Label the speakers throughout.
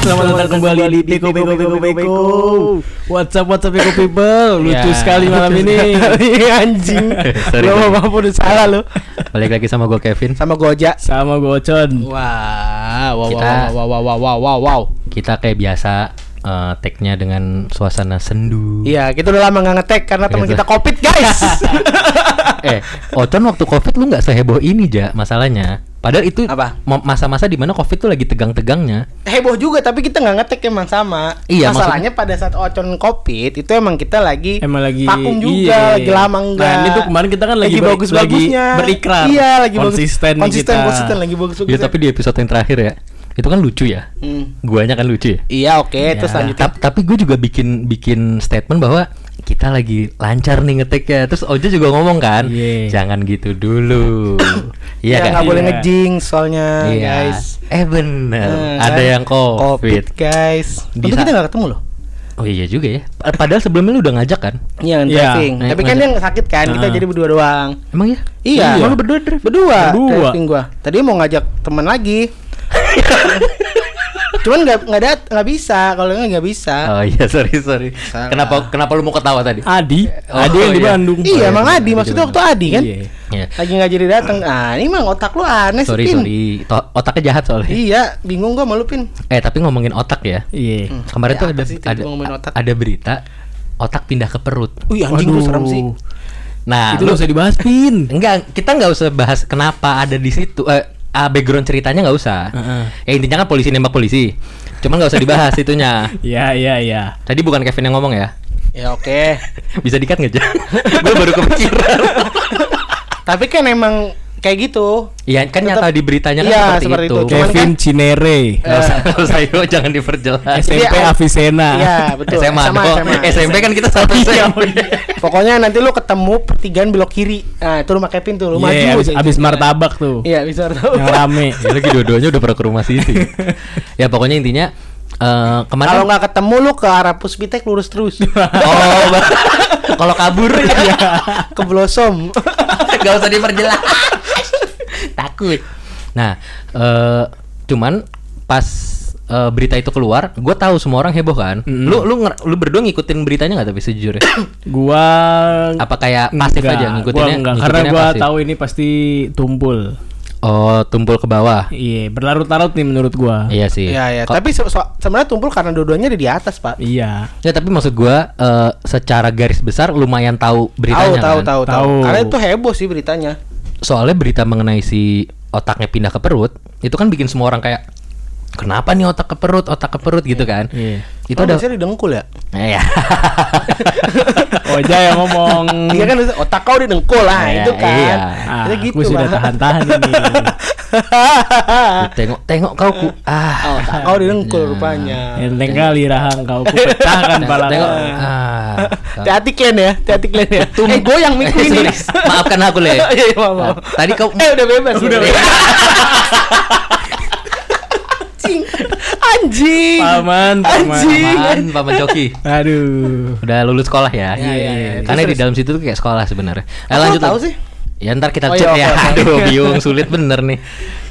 Speaker 1: datang kembali di Beko Beko Beko Beko. What's up What's up Beko People? Lucu
Speaker 2: Ya.
Speaker 1: sekali malam ini.
Speaker 3: anjing.
Speaker 2: Sorry,
Speaker 3: Lo
Speaker 2: sorry.
Speaker 3: mau apa udah salah lo.
Speaker 2: Balik lagi sama gue Kevin.
Speaker 3: Sama Goja.
Speaker 1: Sama gue Ocon.
Speaker 3: Wah, wow,
Speaker 2: Kita-
Speaker 3: wow, wow, wow, wow, wow, wow.
Speaker 2: Kita kayak biasa eh, tag-nya dengan suasana sendu.
Speaker 3: Iya, kita udah lama nggak ngetek karena teman
Speaker 2: Gitu.
Speaker 3: kita covid guys.
Speaker 2: Eh, Ocon waktu Covid lu nggak seheboh ini, Ja, masalahnya. Padahal itu
Speaker 3: Apa?
Speaker 2: mo- masa-masa di mana Covid tuh lagi tegang-tegangnya.
Speaker 3: Heboh juga, tapi kita nggak ngetek emang sama.
Speaker 2: Iya,
Speaker 3: Masalahnya pada saat ocon covid itu emang kita lagi
Speaker 1: Emang lagi
Speaker 3: vakum juga,
Speaker 1: iya.
Speaker 3: lagi lama enggak.
Speaker 1: Nah, ini tuh kemarin kita kan lagi ber-
Speaker 3: bagus-bagusnya.
Speaker 1: lagi berikrar.
Speaker 3: Iya, lagi bagus-
Speaker 1: Konsisten nih
Speaker 3: konsisten,
Speaker 1: kita.
Speaker 3: konsisten lagi bagus
Speaker 2: Iya, tapi di episode yang terakhir ya. Itu kan lucu ya.
Speaker 3: Hmm.
Speaker 2: Guanya kan lucu ya.
Speaker 3: Iya, oke, terus
Speaker 2: Ya,
Speaker 3: lanjutnya.
Speaker 2: tap- tapi gue juga bikin bikin statement bahwa kita lagi lancar nih ngetek ya. Terus Oja juga ngomong kan,
Speaker 1: Iya.
Speaker 2: jangan gitu dulu.
Speaker 3: Iya,
Speaker 2: Iya kan?
Speaker 3: nggak boleh
Speaker 1: Iya.
Speaker 3: ngejing soalnya,
Speaker 2: Iya.
Speaker 3: guys.
Speaker 2: Eh bener,
Speaker 3: Eh,
Speaker 2: ada
Speaker 3: kan?
Speaker 2: yang covid.
Speaker 3: guys.
Speaker 2: Di
Speaker 3: Tapi
Speaker 2: sa-
Speaker 3: kita nggak ketemu loh.
Speaker 2: Oh iya juga ya. Pa- Padahal sebelumnya lu udah ngajak kan?
Speaker 1: Iya.
Speaker 3: Iya, driving.
Speaker 2: Naik
Speaker 3: Tapi kan
Speaker 2: motor.
Speaker 3: dia nggak sakit kan, kita
Speaker 1: Heeh.
Speaker 3: jadi berdua doang.
Speaker 2: Emang ya?
Speaker 3: Iya.
Speaker 2: Emang lu berdua drive?
Speaker 3: Berdua,
Speaker 1: Berdua.
Speaker 3: driving gua. Tadi mau ngajak teman lagi. Cuman nggak nggak dat nggak bisa kalau nggak nggak bisa.
Speaker 2: Oh iya sorry sorry.
Speaker 3: Salah. Ah.
Speaker 2: Kenapa kenapa lu mau ketawa tadi?
Speaker 1: Adi,
Speaker 2: Oh,
Speaker 1: Adi yang di
Speaker 2: iya.
Speaker 1: Bandung.
Speaker 3: iya,
Speaker 2: Oh,
Speaker 3: Mang
Speaker 2: iya,
Speaker 3: Adi
Speaker 2: iya,
Speaker 3: maksudnya
Speaker 2: iya.
Speaker 3: waktu Adi kan.
Speaker 1: Iya.
Speaker 2: Iya.
Speaker 3: Lagi nggak jadi datang. Ah, ini mang otak lu aneh sih,
Speaker 2: Sorry
Speaker 3: Pin.
Speaker 2: sorry. To- otaknya jahat soalnya.
Speaker 3: Eh, Iya, bingung gua malu Pin.
Speaker 2: Eh tapi ngomongin otak ya.
Speaker 1: Iya.
Speaker 2: Kemarin
Speaker 3: Ya,
Speaker 2: tuh
Speaker 3: apa
Speaker 2: ada
Speaker 3: sih tiba-tiba
Speaker 2: ada,
Speaker 3: ngomongin otak?
Speaker 2: ada berita otak pindah ke perut.
Speaker 3: Wih, anjing lu
Speaker 1: Waduh.
Speaker 3: serem sih.
Speaker 2: Nah,
Speaker 1: Itu
Speaker 2: lu
Speaker 1: nggak usah dibahas, Pin.
Speaker 2: enggak kita nggak usah bahas kenapa ada di situ. Eh, ah, background ceritanya nggak usah.
Speaker 1: Heeh.
Speaker 2: Ya intinya kan polisi nembak polisi. Cuman nggak usah dibahas itunya.
Speaker 1: Iya, iya, iya.
Speaker 2: Tadi bukan Kevin yang ngomong ya.
Speaker 3: Ya oke.
Speaker 2: Bisa dikat nggak aja? Gue baru kepikiran.
Speaker 3: Tapi kan emang kayak gitu.
Speaker 2: Iya kan
Speaker 3: Tetap-
Speaker 2: nyata di beritanya kan
Speaker 3: Iya,
Speaker 2: seperti,
Speaker 3: seperti
Speaker 2: itu.
Speaker 3: itu. Cuman
Speaker 1: Kevin
Speaker 3: kan-
Speaker 1: Cinere.
Speaker 2: Nggak usah, nggak usah yuk, jangan diperjelas.
Speaker 3: Jadi,
Speaker 1: SMP
Speaker 3: ah,
Speaker 1: Avicenna.
Speaker 3: Iya, betul.
Speaker 2: SMA,
Speaker 3: Sama,
Speaker 2: kok.
Speaker 3: sama.
Speaker 2: SMP kan kita satu
Speaker 1: Iya,
Speaker 2: SMP.
Speaker 3: Pokoknya nanti lu ketemu pertigaan belok kiri. Nah, itu rumah Kevin tuh, lu maju.
Speaker 1: Iya, abis,
Speaker 3: aja.
Speaker 1: abis martabak tuh.
Speaker 3: Iya, bisa tahu.
Speaker 1: Yang rame.
Speaker 2: Ya, lagi dua-duanya udah pernah ke rumah situ. ya pokoknya intinya eh kemarin
Speaker 3: Kalau nggak ketemu lu ke arah Puspitek lurus terus.
Speaker 2: oh ba- kalau kabur ya
Speaker 3: ke Blossom.
Speaker 2: nggak usah diperjelas. Takut. Nah, eh cuman pas eh, berita itu keluar, gue tahu semua orang heboh kan.
Speaker 1: Mm.
Speaker 2: Lu lu nger- lu berdua ngikutin beritanya nggak tapi sejujurnya?
Speaker 1: Gua
Speaker 2: Apa kayak pasif
Speaker 1: Enggak,
Speaker 2: aja
Speaker 1: gua
Speaker 2: ngikutinnya?
Speaker 1: enggak, karena
Speaker 2: ngikutinnya
Speaker 1: gua
Speaker 2: pasif?
Speaker 1: tahu ini pasti tumpul.
Speaker 2: Oh, tumpul ke bawah.
Speaker 1: Iya, berlarut-larut nih menurut gua.
Speaker 2: Iya sih.
Speaker 3: Iya, iya.
Speaker 2: Ko-
Speaker 3: Tapi se- so- sebenarnya tumpul karena dua-duanya ada di atas, Pak.
Speaker 1: Iya.
Speaker 2: Ya, tapi maksud gua eh, secara garis besar lumayan tahu
Speaker 3: Tahu,
Speaker 2: beritanya
Speaker 3: tahu, tahu,
Speaker 2: kan.
Speaker 3: tahu.
Speaker 1: Tahu.
Speaker 3: Karena itu heboh sih beritanya.
Speaker 2: Soalnya berita mengenai si otaknya pindah ke perut itu kan bikin semua orang kayak kenapa nih otak ke perut, otak ke perut gitu kan.
Speaker 1: Iya.
Speaker 3: Oh,
Speaker 2: Itu ada
Speaker 3: biasanya didengkul ya.
Speaker 2: Eh, ya.
Speaker 1: Oja yang ngomong.
Speaker 3: Iya kan biasanya, otak kau didengkul lah,
Speaker 2: Iya,
Speaker 3: itu kan.
Speaker 2: iya.
Speaker 1: Ah,
Speaker 3: Itu
Speaker 1: aku sudah
Speaker 3: Pak.
Speaker 1: tahan-tahan ini.
Speaker 2: Lu tengok tengok kau ku
Speaker 3: Oh,
Speaker 2: ah.
Speaker 3: otak kau didengkul rupanya.
Speaker 2: Iya.
Speaker 1: Enteng kali rahang kau kupecahkan
Speaker 2: Tengok,
Speaker 1: pala. kau.
Speaker 2: tengok, ah.
Speaker 3: Hati-hati klan ya, hati-hati klan ya. Eh, gue yang miku
Speaker 2: Eh,
Speaker 3: ini.
Speaker 2: sorry. Maafkan aku, Le.
Speaker 3: Iya, iya, maaf, maaf.
Speaker 2: ya? Tadi kau
Speaker 3: Eh, udah bebas.
Speaker 1: Udah
Speaker 3: ya. Anjing. Anjing.
Speaker 1: Paman, paman.
Speaker 3: Anjing.
Speaker 2: Paman, Paman Joki.
Speaker 1: Aduh.
Speaker 2: Udah lulus sekolah
Speaker 3: Iya,
Speaker 2: ya.
Speaker 3: iya, iya.
Speaker 2: Karena
Speaker 3: Terus,
Speaker 2: di dalam situ tuh kayak sekolah sebenarnya. Eh,
Speaker 3: Aku
Speaker 2: lanjut
Speaker 3: tahu
Speaker 2: Lu.
Speaker 3: sih.
Speaker 2: Ya ntar kita
Speaker 3: Oh,
Speaker 2: cek
Speaker 3: iya,
Speaker 2: ya.
Speaker 3: oke, oke.
Speaker 2: Aduh, bingung sulit bener nih.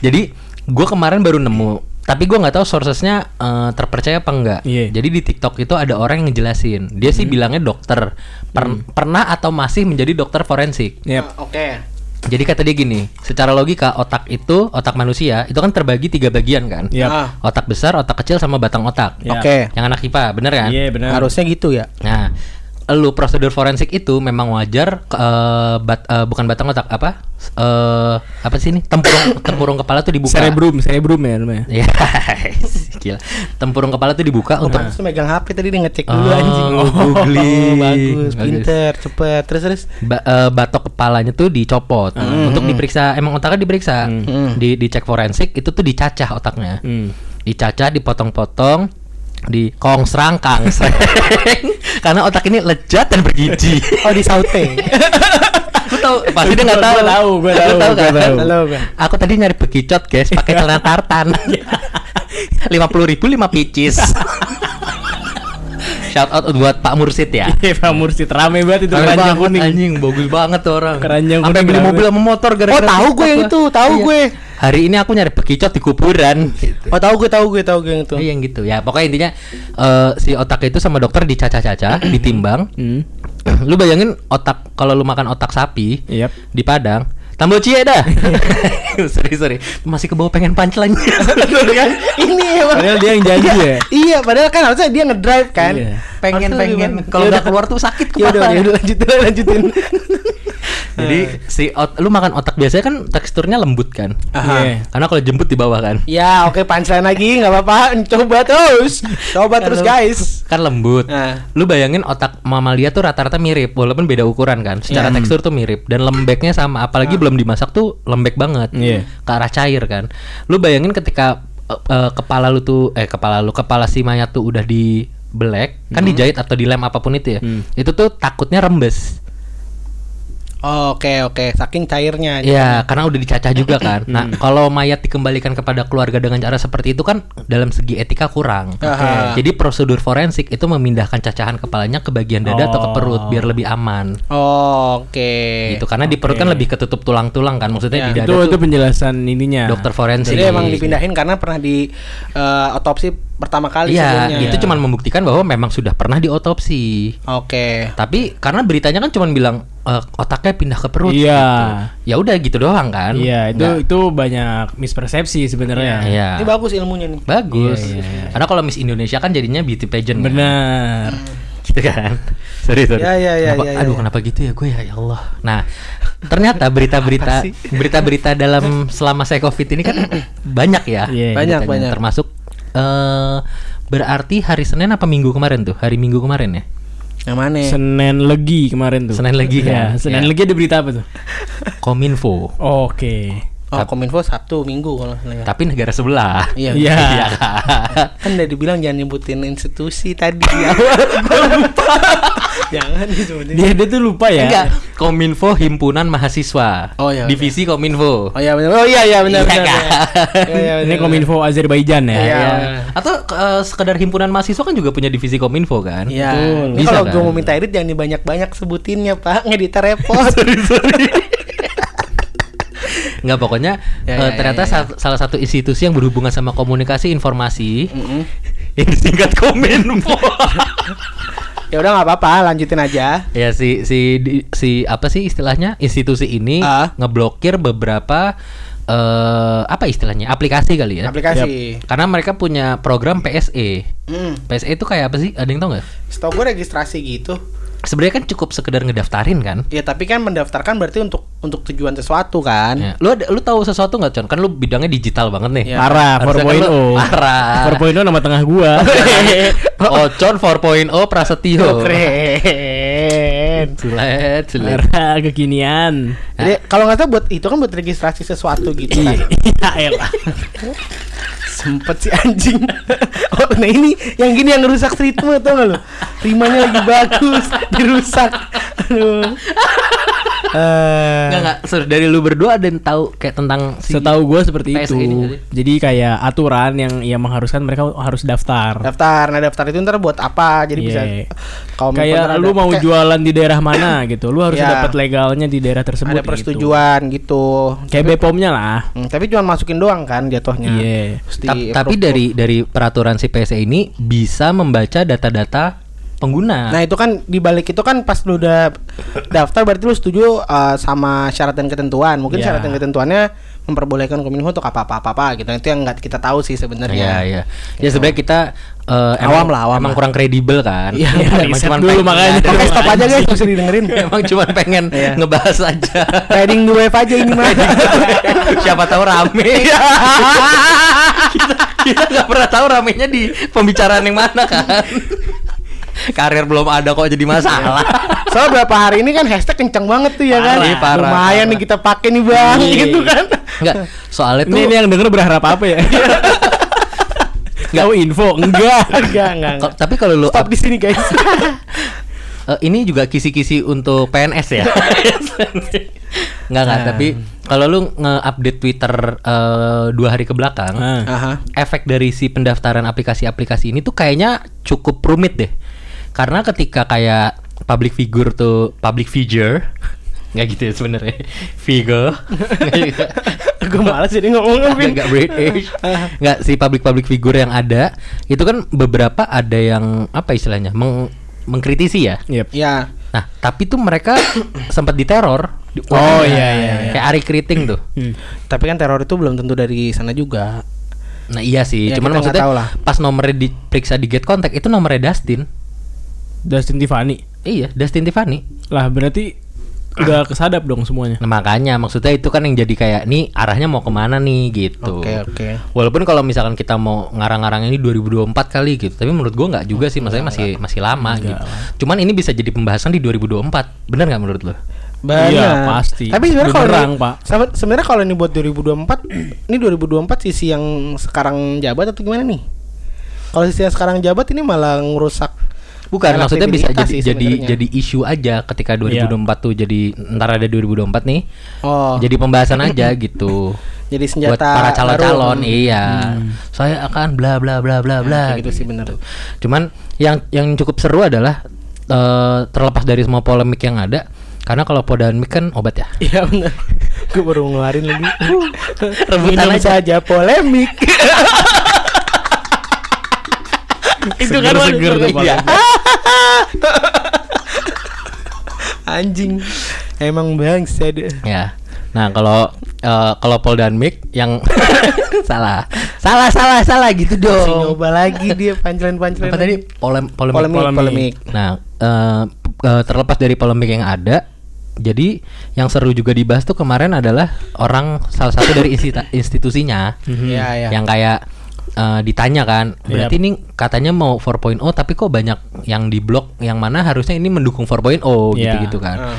Speaker 2: Jadi gua kemarin baru nemu, tapi gua nggak tahu sourcesnya eh, terpercaya apa enggak.
Speaker 1: Iya.
Speaker 2: Jadi di TikTok itu ada orang yang ngejelasin. Dia
Speaker 3: Hmm.
Speaker 2: sih bilangnya dokter. Per- Pernah atau masih menjadi dokter forensik.
Speaker 1: Yep.
Speaker 3: Ah, Oke.
Speaker 2: Jadi kata dia gini, secara logika otak itu otak manusia itu kan terbagi tiga bagian kan.
Speaker 1: Yep.
Speaker 3: Ah,
Speaker 2: Otak besar, otak kecil, sama batang otak.
Speaker 1: Ya.
Speaker 3: Oke.
Speaker 2: Yang anak IPA, bener kan?
Speaker 1: Iya, benar.
Speaker 3: Harusnya gitu ya.
Speaker 2: Nah, lu prosedur forensik itu memang wajar ke- eh, bat- eh, bukan batang otak apa? S- eh, apa sih ini? Tempurung tempurung kepala tuh dibuka.
Speaker 1: Cerebrum, cerebrum ya namanya.
Speaker 2: Ya, gila. Tempurung kepala tuh dibuka untuk
Speaker 3: Terus megang HP tadi dia ngecek dulu
Speaker 2: Oh,
Speaker 3: anjing.
Speaker 2: googling.
Speaker 3: bagus,
Speaker 2: Bagus.
Speaker 3: pinter, cepet. Terus terus.
Speaker 2: ba- eh, batok kepalanya tuh dicopot untuk diperiksa. Emang otaknya diperiksa. Di dicek forensik itu tuh dicacah otaknya.
Speaker 1: Hmm.
Speaker 2: Dicacah, dipotong-potong, di kongsrang kangsreng. Karena otak ini lejat dan bergiji.
Speaker 3: Oh, di saute.
Speaker 2: Lu tahu pasti dia
Speaker 1: Gua-
Speaker 2: nggak tahu.
Speaker 1: gua tahu, gua tahu,
Speaker 2: Lu tahu
Speaker 1: gua
Speaker 2: kan?
Speaker 1: tahu.
Speaker 3: Tahu gua.
Speaker 2: Aku tadi nyari bekicot, guys, pakai celana tartan. Lima puluh ribu lima picis. Shout out buat Pak Mursid ya.
Speaker 1: Iya, Pak Mursid rame banget itu
Speaker 2: Keren
Speaker 1: keranjang
Speaker 2: banget,
Speaker 1: kuning.
Speaker 2: Anjing bagus banget tuh orang.
Speaker 1: Keranjang
Speaker 2: Sampai
Speaker 1: kuning
Speaker 2: beli
Speaker 1: rame.
Speaker 2: mobil sama motor
Speaker 3: Oh,
Speaker 2: gara-gara
Speaker 3: tahu
Speaker 2: TikTok
Speaker 3: gue yang
Speaker 2: gua.
Speaker 3: itu, tahu
Speaker 2: Iya.
Speaker 3: gue.
Speaker 2: hari ini aku nyari bekicot di kuburan gitu.
Speaker 3: Oh tahu gue tahu gue tahu gue yang itu.
Speaker 2: Iya, yang gitu ya pokoknya intinya eh, si otak itu sama dokter dicacah-cacah ditimbang
Speaker 1: Hmm.
Speaker 2: lu bayangin otak kalau lu makan otak sapi
Speaker 1: Yap.
Speaker 2: di Padang tambah cie dah sorry sorry masih ke bawah pengen punchline
Speaker 3: Betul kan? Ini emang.
Speaker 1: Padahal dia yang janji
Speaker 3: Iya,
Speaker 1: ya.
Speaker 3: Iya, padahal kan harusnya dia ngedrive kan.
Speaker 1: Iya.
Speaker 2: pengen pengen kalau udah keluar tuh sakit
Speaker 3: Ya udah,
Speaker 2: kepala
Speaker 3: ya udah lanjutin lanjutin.
Speaker 2: jadi si ot- lu makan otak biasanya kan teksturnya lembut kan
Speaker 1: Aha.
Speaker 2: Iya. karena kalau jemput di bawah kan
Speaker 3: Ya, oke punchline lagi nggak apa-apa. Coba terus. Coba terus
Speaker 2: Kalau-
Speaker 3: guys.
Speaker 2: kan lembut
Speaker 3: Ah.
Speaker 2: lu bayangin otak mamalia tuh rata-rata mirip walaupun beda ukuran kan
Speaker 1: Iya.
Speaker 2: secara tekstur tuh mirip dan lembeknya sama apalagi belum dimasak tuh lembek banget
Speaker 1: Iya.
Speaker 2: ke arah cair kan lu bayangin ketika eh, eh, kepala lu tuh eh kepala lu kepala si mayat tuh udah di black kan dijahit atau dilem apapun itu ya
Speaker 1: Mm-hmm. Hmm.
Speaker 2: itu tuh takutnya rembes
Speaker 3: Oke, oke. Saking cairnya.
Speaker 1: gitu.
Speaker 2: Iya, karena udah dicacah juga kan. Nah,
Speaker 1: Hmm.
Speaker 2: kalau mayat dikembalikan kepada keluarga dengan cara seperti itu kan dalam segi etika kurang.
Speaker 3: Aha.
Speaker 2: Jadi prosedur forensik itu memindahkan cacahan kepalanya ke bagian dada atau ke perut biar lebih aman.
Speaker 3: Oke.
Speaker 2: Gitu karena di perut kan lebih ketutup tulang-tulang kan.
Speaker 3: Ya.
Speaker 2: Maksudnya di dada
Speaker 1: Itu Iya, itu
Speaker 2: tuh
Speaker 1: penjelasan ininya.
Speaker 2: dokter forensik.
Speaker 3: Jadi emang dipindahin karena pernah di eh, otopsi pertama kali
Speaker 2: Iya,
Speaker 3: sebelumnya.
Speaker 2: itu cuma membuktikan bahwa memang sudah pernah diotopsi.
Speaker 3: Oke.
Speaker 2: Tapi karena beritanya kan cuma bilang "Eh, otaknya pindah ke perut.
Speaker 1: Iya.
Speaker 2: gitu. Ya udah gitu doang kan.
Speaker 1: Iya, itu
Speaker 2: Nggak-
Speaker 1: itu banyak mispersepsi sebenarnya.
Speaker 2: Iya.
Speaker 3: Ini bagus ilmunya nih.
Speaker 2: Bagus.
Speaker 1: Iya, iya,
Speaker 2: Karena kalau Miss Indonesia kan jadinya beauty pageant. kan?
Speaker 1: Benar.
Speaker 2: Gitu kan. Sorry, sorry.
Speaker 3: Ya, ya, ya,
Speaker 2: Kenapa-
Speaker 3: ya, ya,
Speaker 2: aduh,
Speaker 3: ya.
Speaker 2: kenapa gitu ya gue ya, ya Allah. Nah, ternyata berita-berita
Speaker 3: Apa sih?
Speaker 2: berita-berita dalam selama saya Covid ini kan banyak ya.
Speaker 1: Iya,
Speaker 3: Banyak,
Speaker 2: beritanya.
Speaker 3: banyak.
Speaker 2: Termasuk eh berarti hari Senin apa Minggu kemarin tuh? Hari Minggu kemarin ya.
Speaker 3: Yang mana?
Speaker 1: Senin Legi kemarin tuh.
Speaker 2: Senin Legi kan?
Speaker 1: Iya, Senin
Speaker 2: Iya.
Speaker 1: Legi ada berita apa tuh?
Speaker 2: Kominfo.
Speaker 1: Oke.
Speaker 3: Oh, Kominfo Sabtu Minggu kalau nggak salah ya.
Speaker 2: Tapi negara sebelah.
Speaker 3: Iya.
Speaker 1: Iya.
Speaker 2: kan?
Speaker 3: Kan udah dibilang jangan nyebutin institusi tadi di awal. Gua lupa. jangan disebutin.
Speaker 1: Dia dia tuh lupa ya.
Speaker 2: Enggak, Kominfo himpunan mahasiswa.
Speaker 3: Oh, iya,
Speaker 2: Divisi Kominfo.
Speaker 3: Oh iya benar. Oh iya iya benar
Speaker 2: Iya,
Speaker 3: benar.
Speaker 2: kan?
Speaker 3: benar. Iya, iya,
Speaker 1: Ini
Speaker 3: benar,
Speaker 1: Kominfo Azerbaijan ya.
Speaker 3: Iya.
Speaker 2: Atau eh, sekedar himpunan mahasiswa kan juga punya divisi Kominfo kan?
Speaker 3: Iya.
Speaker 1: Betul.
Speaker 3: Ini
Speaker 2: Bisa
Speaker 3: Kalau
Speaker 2: kan?
Speaker 3: gue mau minta edit jangan dibanyak-banyak sebutinnya, Pak. Ngedit repot.
Speaker 2: Nggak pokoknya
Speaker 3: Ya,
Speaker 2: eh,
Speaker 3: ya, ya,
Speaker 2: ternyata
Speaker 3: ya.
Speaker 2: sa- salah satu institusi yang berhubungan sama komunikasi informasi
Speaker 3: Mm.
Speaker 2: yang disingkat Kominfo.
Speaker 3: ya udah nggak apa-apa, lanjutin aja.
Speaker 2: ya si si di- si apa sih istilahnya institusi ini
Speaker 3: Ah.
Speaker 2: ngeblokir beberapa eh apa istilahnya aplikasi kali
Speaker 1: Iya.
Speaker 2: ya.
Speaker 3: Aplikasi.
Speaker 2: Karena mereka punya program E. PSE.
Speaker 3: Hmm.
Speaker 2: PSE itu kayak apa sih? Ada yang tahu nggak?
Speaker 3: Setau gue registrasi gitu.
Speaker 2: Sebenarnya kan cukup sekedar ngedaftarin kan?
Speaker 3: Ya tapi kan mendaftarkan berarti untuk untuk tujuan sesuatu kan.
Speaker 1: Iya.
Speaker 2: Ya. Lu ada, lu tahu sesuatu nggak Con? Kan lu bidangnya digital banget nih.
Speaker 3: Iya.
Speaker 1: Parah, oh.
Speaker 2: Harusnya kan
Speaker 1: 4.0.
Speaker 2: lu- parah. Iya.
Speaker 1: 4.0 nama tengah gua.
Speaker 2: Ocon 4.0 oh, Prasetyo.
Speaker 3: Keren.
Speaker 2: Sulit, sulit.
Speaker 1: Parah kekinian.
Speaker 3: Jadi kalau nggak tahu buat itu kan buat registrasi sesuatu gitu kan.
Speaker 1: Iya, elah.
Speaker 3: Sempet si anjing. Oh, nah ini yang gini yang ngerusak ritme tau nggak lo? Rimanya lagi bagus, dirusak. Aduh.
Speaker 2: Enggak enggak, Sur, dari lu berdua ada yang tahu kayak tentang si
Speaker 1: Setahu gua seperti
Speaker 2: PSE
Speaker 1: itu.
Speaker 2: ini nggak sih?
Speaker 1: Jadi kayak aturan yang ya mengharuskan mereka harus daftar.
Speaker 3: Daftar, nah daftar itu ntar buat apa? Jadi bisa
Speaker 1: Iya.
Speaker 3: kalau
Speaker 1: Kayak
Speaker 3: misalnya
Speaker 1: lu
Speaker 3: ada-
Speaker 1: mau
Speaker 3: kayak
Speaker 1: jualan di daerah mana gitu. Lu harus
Speaker 3: Iya.
Speaker 1: dapat legalnya di daerah tersebut
Speaker 3: ada
Speaker 1: gitu.
Speaker 3: persetujuan gitu.
Speaker 1: Kayak BPOM-nya lah.
Speaker 3: Hmm, tapi cuma masukin doang kan jatuhnya.
Speaker 1: Iya.
Speaker 3: Terus
Speaker 2: Ta-
Speaker 3: di-
Speaker 2: tapi dari dari peraturan si PSE ini bisa membaca data-data pengguna.
Speaker 3: Nah itu kan dibalik itu kan pas lu udah daftar berarti lu setuju uh, sama syarat dan ketentuan. Mungkin
Speaker 1: Iya.
Speaker 3: syarat dan ketentuannya memperbolehkan kominfo untuk apa apa apa apa gitu. Itu yang nggak kita tahu sih
Speaker 2: Iya,
Speaker 3: sebenarnya.
Speaker 2: iya. Ya sebenarnya kita eh,
Speaker 3: Awam
Speaker 2: emang-
Speaker 3: lah, awam
Speaker 2: emang
Speaker 3: lah.
Speaker 2: kurang kredibel kan.
Speaker 1: Iya, riset dulu
Speaker 2: pengen-
Speaker 1: makanya.
Speaker 3: Oke stop aja guys, bisa didengerin.
Speaker 2: Iya, Emang cuma pengen
Speaker 3: Iya.
Speaker 2: ngebahas aja.
Speaker 3: Riding the wave aja ini mah.
Speaker 2: Siapa tahu rame. kita kita nggak pernah tahu ramenya di pembicaraan yang mana kan. Karir belum ada kok jadi masalah.
Speaker 3: Soalnya berapa hari ini kan hashtag kencang banget tuh ya kan.
Speaker 2: Parah, Iya, parah,
Speaker 3: Lumayan
Speaker 2: parah.
Speaker 3: nih kita pakai nih bang,
Speaker 1: Iya.
Speaker 3: gitu kan.
Speaker 2: Enggak, soalnya tuh
Speaker 1: Ini, ini yang denger berharap apa ya? Tahu info enggak?
Speaker 3: Enggak enggak.
Speaker 2: Ko- tapi kalau lu
Speaker 3: Stop di sini guys.
Speaker 2: Eh, ini juga kisi-kisi untuk PNS ya. Enggak enggak, tapi kalau lu nge-update Twitter eh, dua hari ke belakang,
Speaker 1: Ah.
Speaker 3: Aha.
Speaker 2: efek dari si pendaftaran aplikasi-aplikasi ini tuh kayaknya cukup rumit deh. Karena ketika kayak public figure tuh public figure nggak gitu ya sebenarnya Vigo
Speaker 3: Gue malas jadi ngomong Vin.
Speaker 2: nggak British nggak si public public figure yang ada itu kan beberapa ada yang apa istilahnya meng- mengkritisi ya
Speaker 1: Yep.
Speaker 3: Ya.
Speaker 2: nah tapi tuh mereka sempat diteror
Speaker 3: Oh, iya, iya, iya.
Speaker 2: kayak Ari Kriting tuh
Speaker 3: Tapi kan teror itu belum tentu dari sana juga.
Speaker 2: nah iya sih
Speaker 3: Ya, kita
Speaker 2: cuman
Speaker 3: nggak
Speaker 2: maksudnya
Speaker 3: tahu lah.
Speaker 2: pas nomornya diperiksa di get contact itu nomornya Dustin
Speaker 1: Dustin Tiffany.
Speaker 2: iya Dustin Tiffany
Speaker 1: Lah berarti udah kesadap dong semuanya.
Speaker 2: Nah, makanya maksudnya itu kan yang jadi kayak nih arahnya mau kemana nih gitu.
Speaker 3: Oke, oke.
Speaker 2: Walaupun kalau misalkan kita mau ngarang-ngarang ini 2024 kali gitu, tapi menurut gua nggak juga sih, maksudnya masih masih lama gitu. Cuman ini bisa jadi pembahasan di 2024, bener nggak menurut lo?
Speaker 3: Banyak.
Speaker 1: Iya, pasti.
Speaker 3: Tapi sebenarnya kalau
Speaker 1: Benerang,
Speaker 3: ini-
Speaker 1: Pak.
Speaker 3: sama- sebenarnya kalau ini buat 2024, ini 2024 sisi yang sekarang jabat atau gimana nih? Kalau sisi yang sekarang jabat ini malah ngerusak
Speaker 2: Bukan, maksudnya bisa
Speaker 3: elektribilitas sih
Speaker 2: jadi jadi
Speaker 3: sebenarnya. Iya.
Speaker 2: jadi isu aja ketika 2024 tuh jadi ntar ada 2024 nih,
Speaker 3: oh, jadi,
Speaker 2: jadi pembahasan aja gitu.
Speaker 3: senjata
Speaker 2: buat para calon-calon
Speaker 3: baru. Hmm.
Speaker 2: iya saya akan bla bla bla bla bla
Speaker 3: kayak gitu sih, bener.
Speaker 2: cuman yang yang cukup seru adalah eh, terlepas dari semua polemik yang ada karena kalau polemik kan obat ya
Speaker 3: Iya benar. Gue baru ngeluarin lagi.
Speaker 2: Rebutan
Speaker 3: Minum
Speaker 2: aja.
Speaker 3: saja polemik.
Speaker 2: itu kan seger tuh
Speaker 1: Iya.
Speaker 3: Anjing. Emang bangsa deh.
Speaker 2: ya nah kalau eh, kalau polemik yang salah salah salah salah gitu
Speaker 3: Masih
Speaker 2: dong
Speaker 3: nyoba lagi dia pancelan-pancelan.
Speaker 2: apa tadi
Speaker 3: lagi.
Speaker 2: polem polemik,
Speaker 3: Polemik, polemik.
Speaker 2: Nah, eh, p- eh, terlepas dari polemik yang ada, jadi yang seru juga dibahas tuh kemarin adalah orang salah satu dari insti- institusinya
Speaker 3: Iya, iya.
Speaker 2: Mhm. yang kayak eh, ditanya kan, berarti ini katanya mau 4.0 tapi kok banyak yang di blok yang mana harusnya ini mendukung 4.0
Speaker 1: Iya.
Speaker 2: gitu-gitu kan.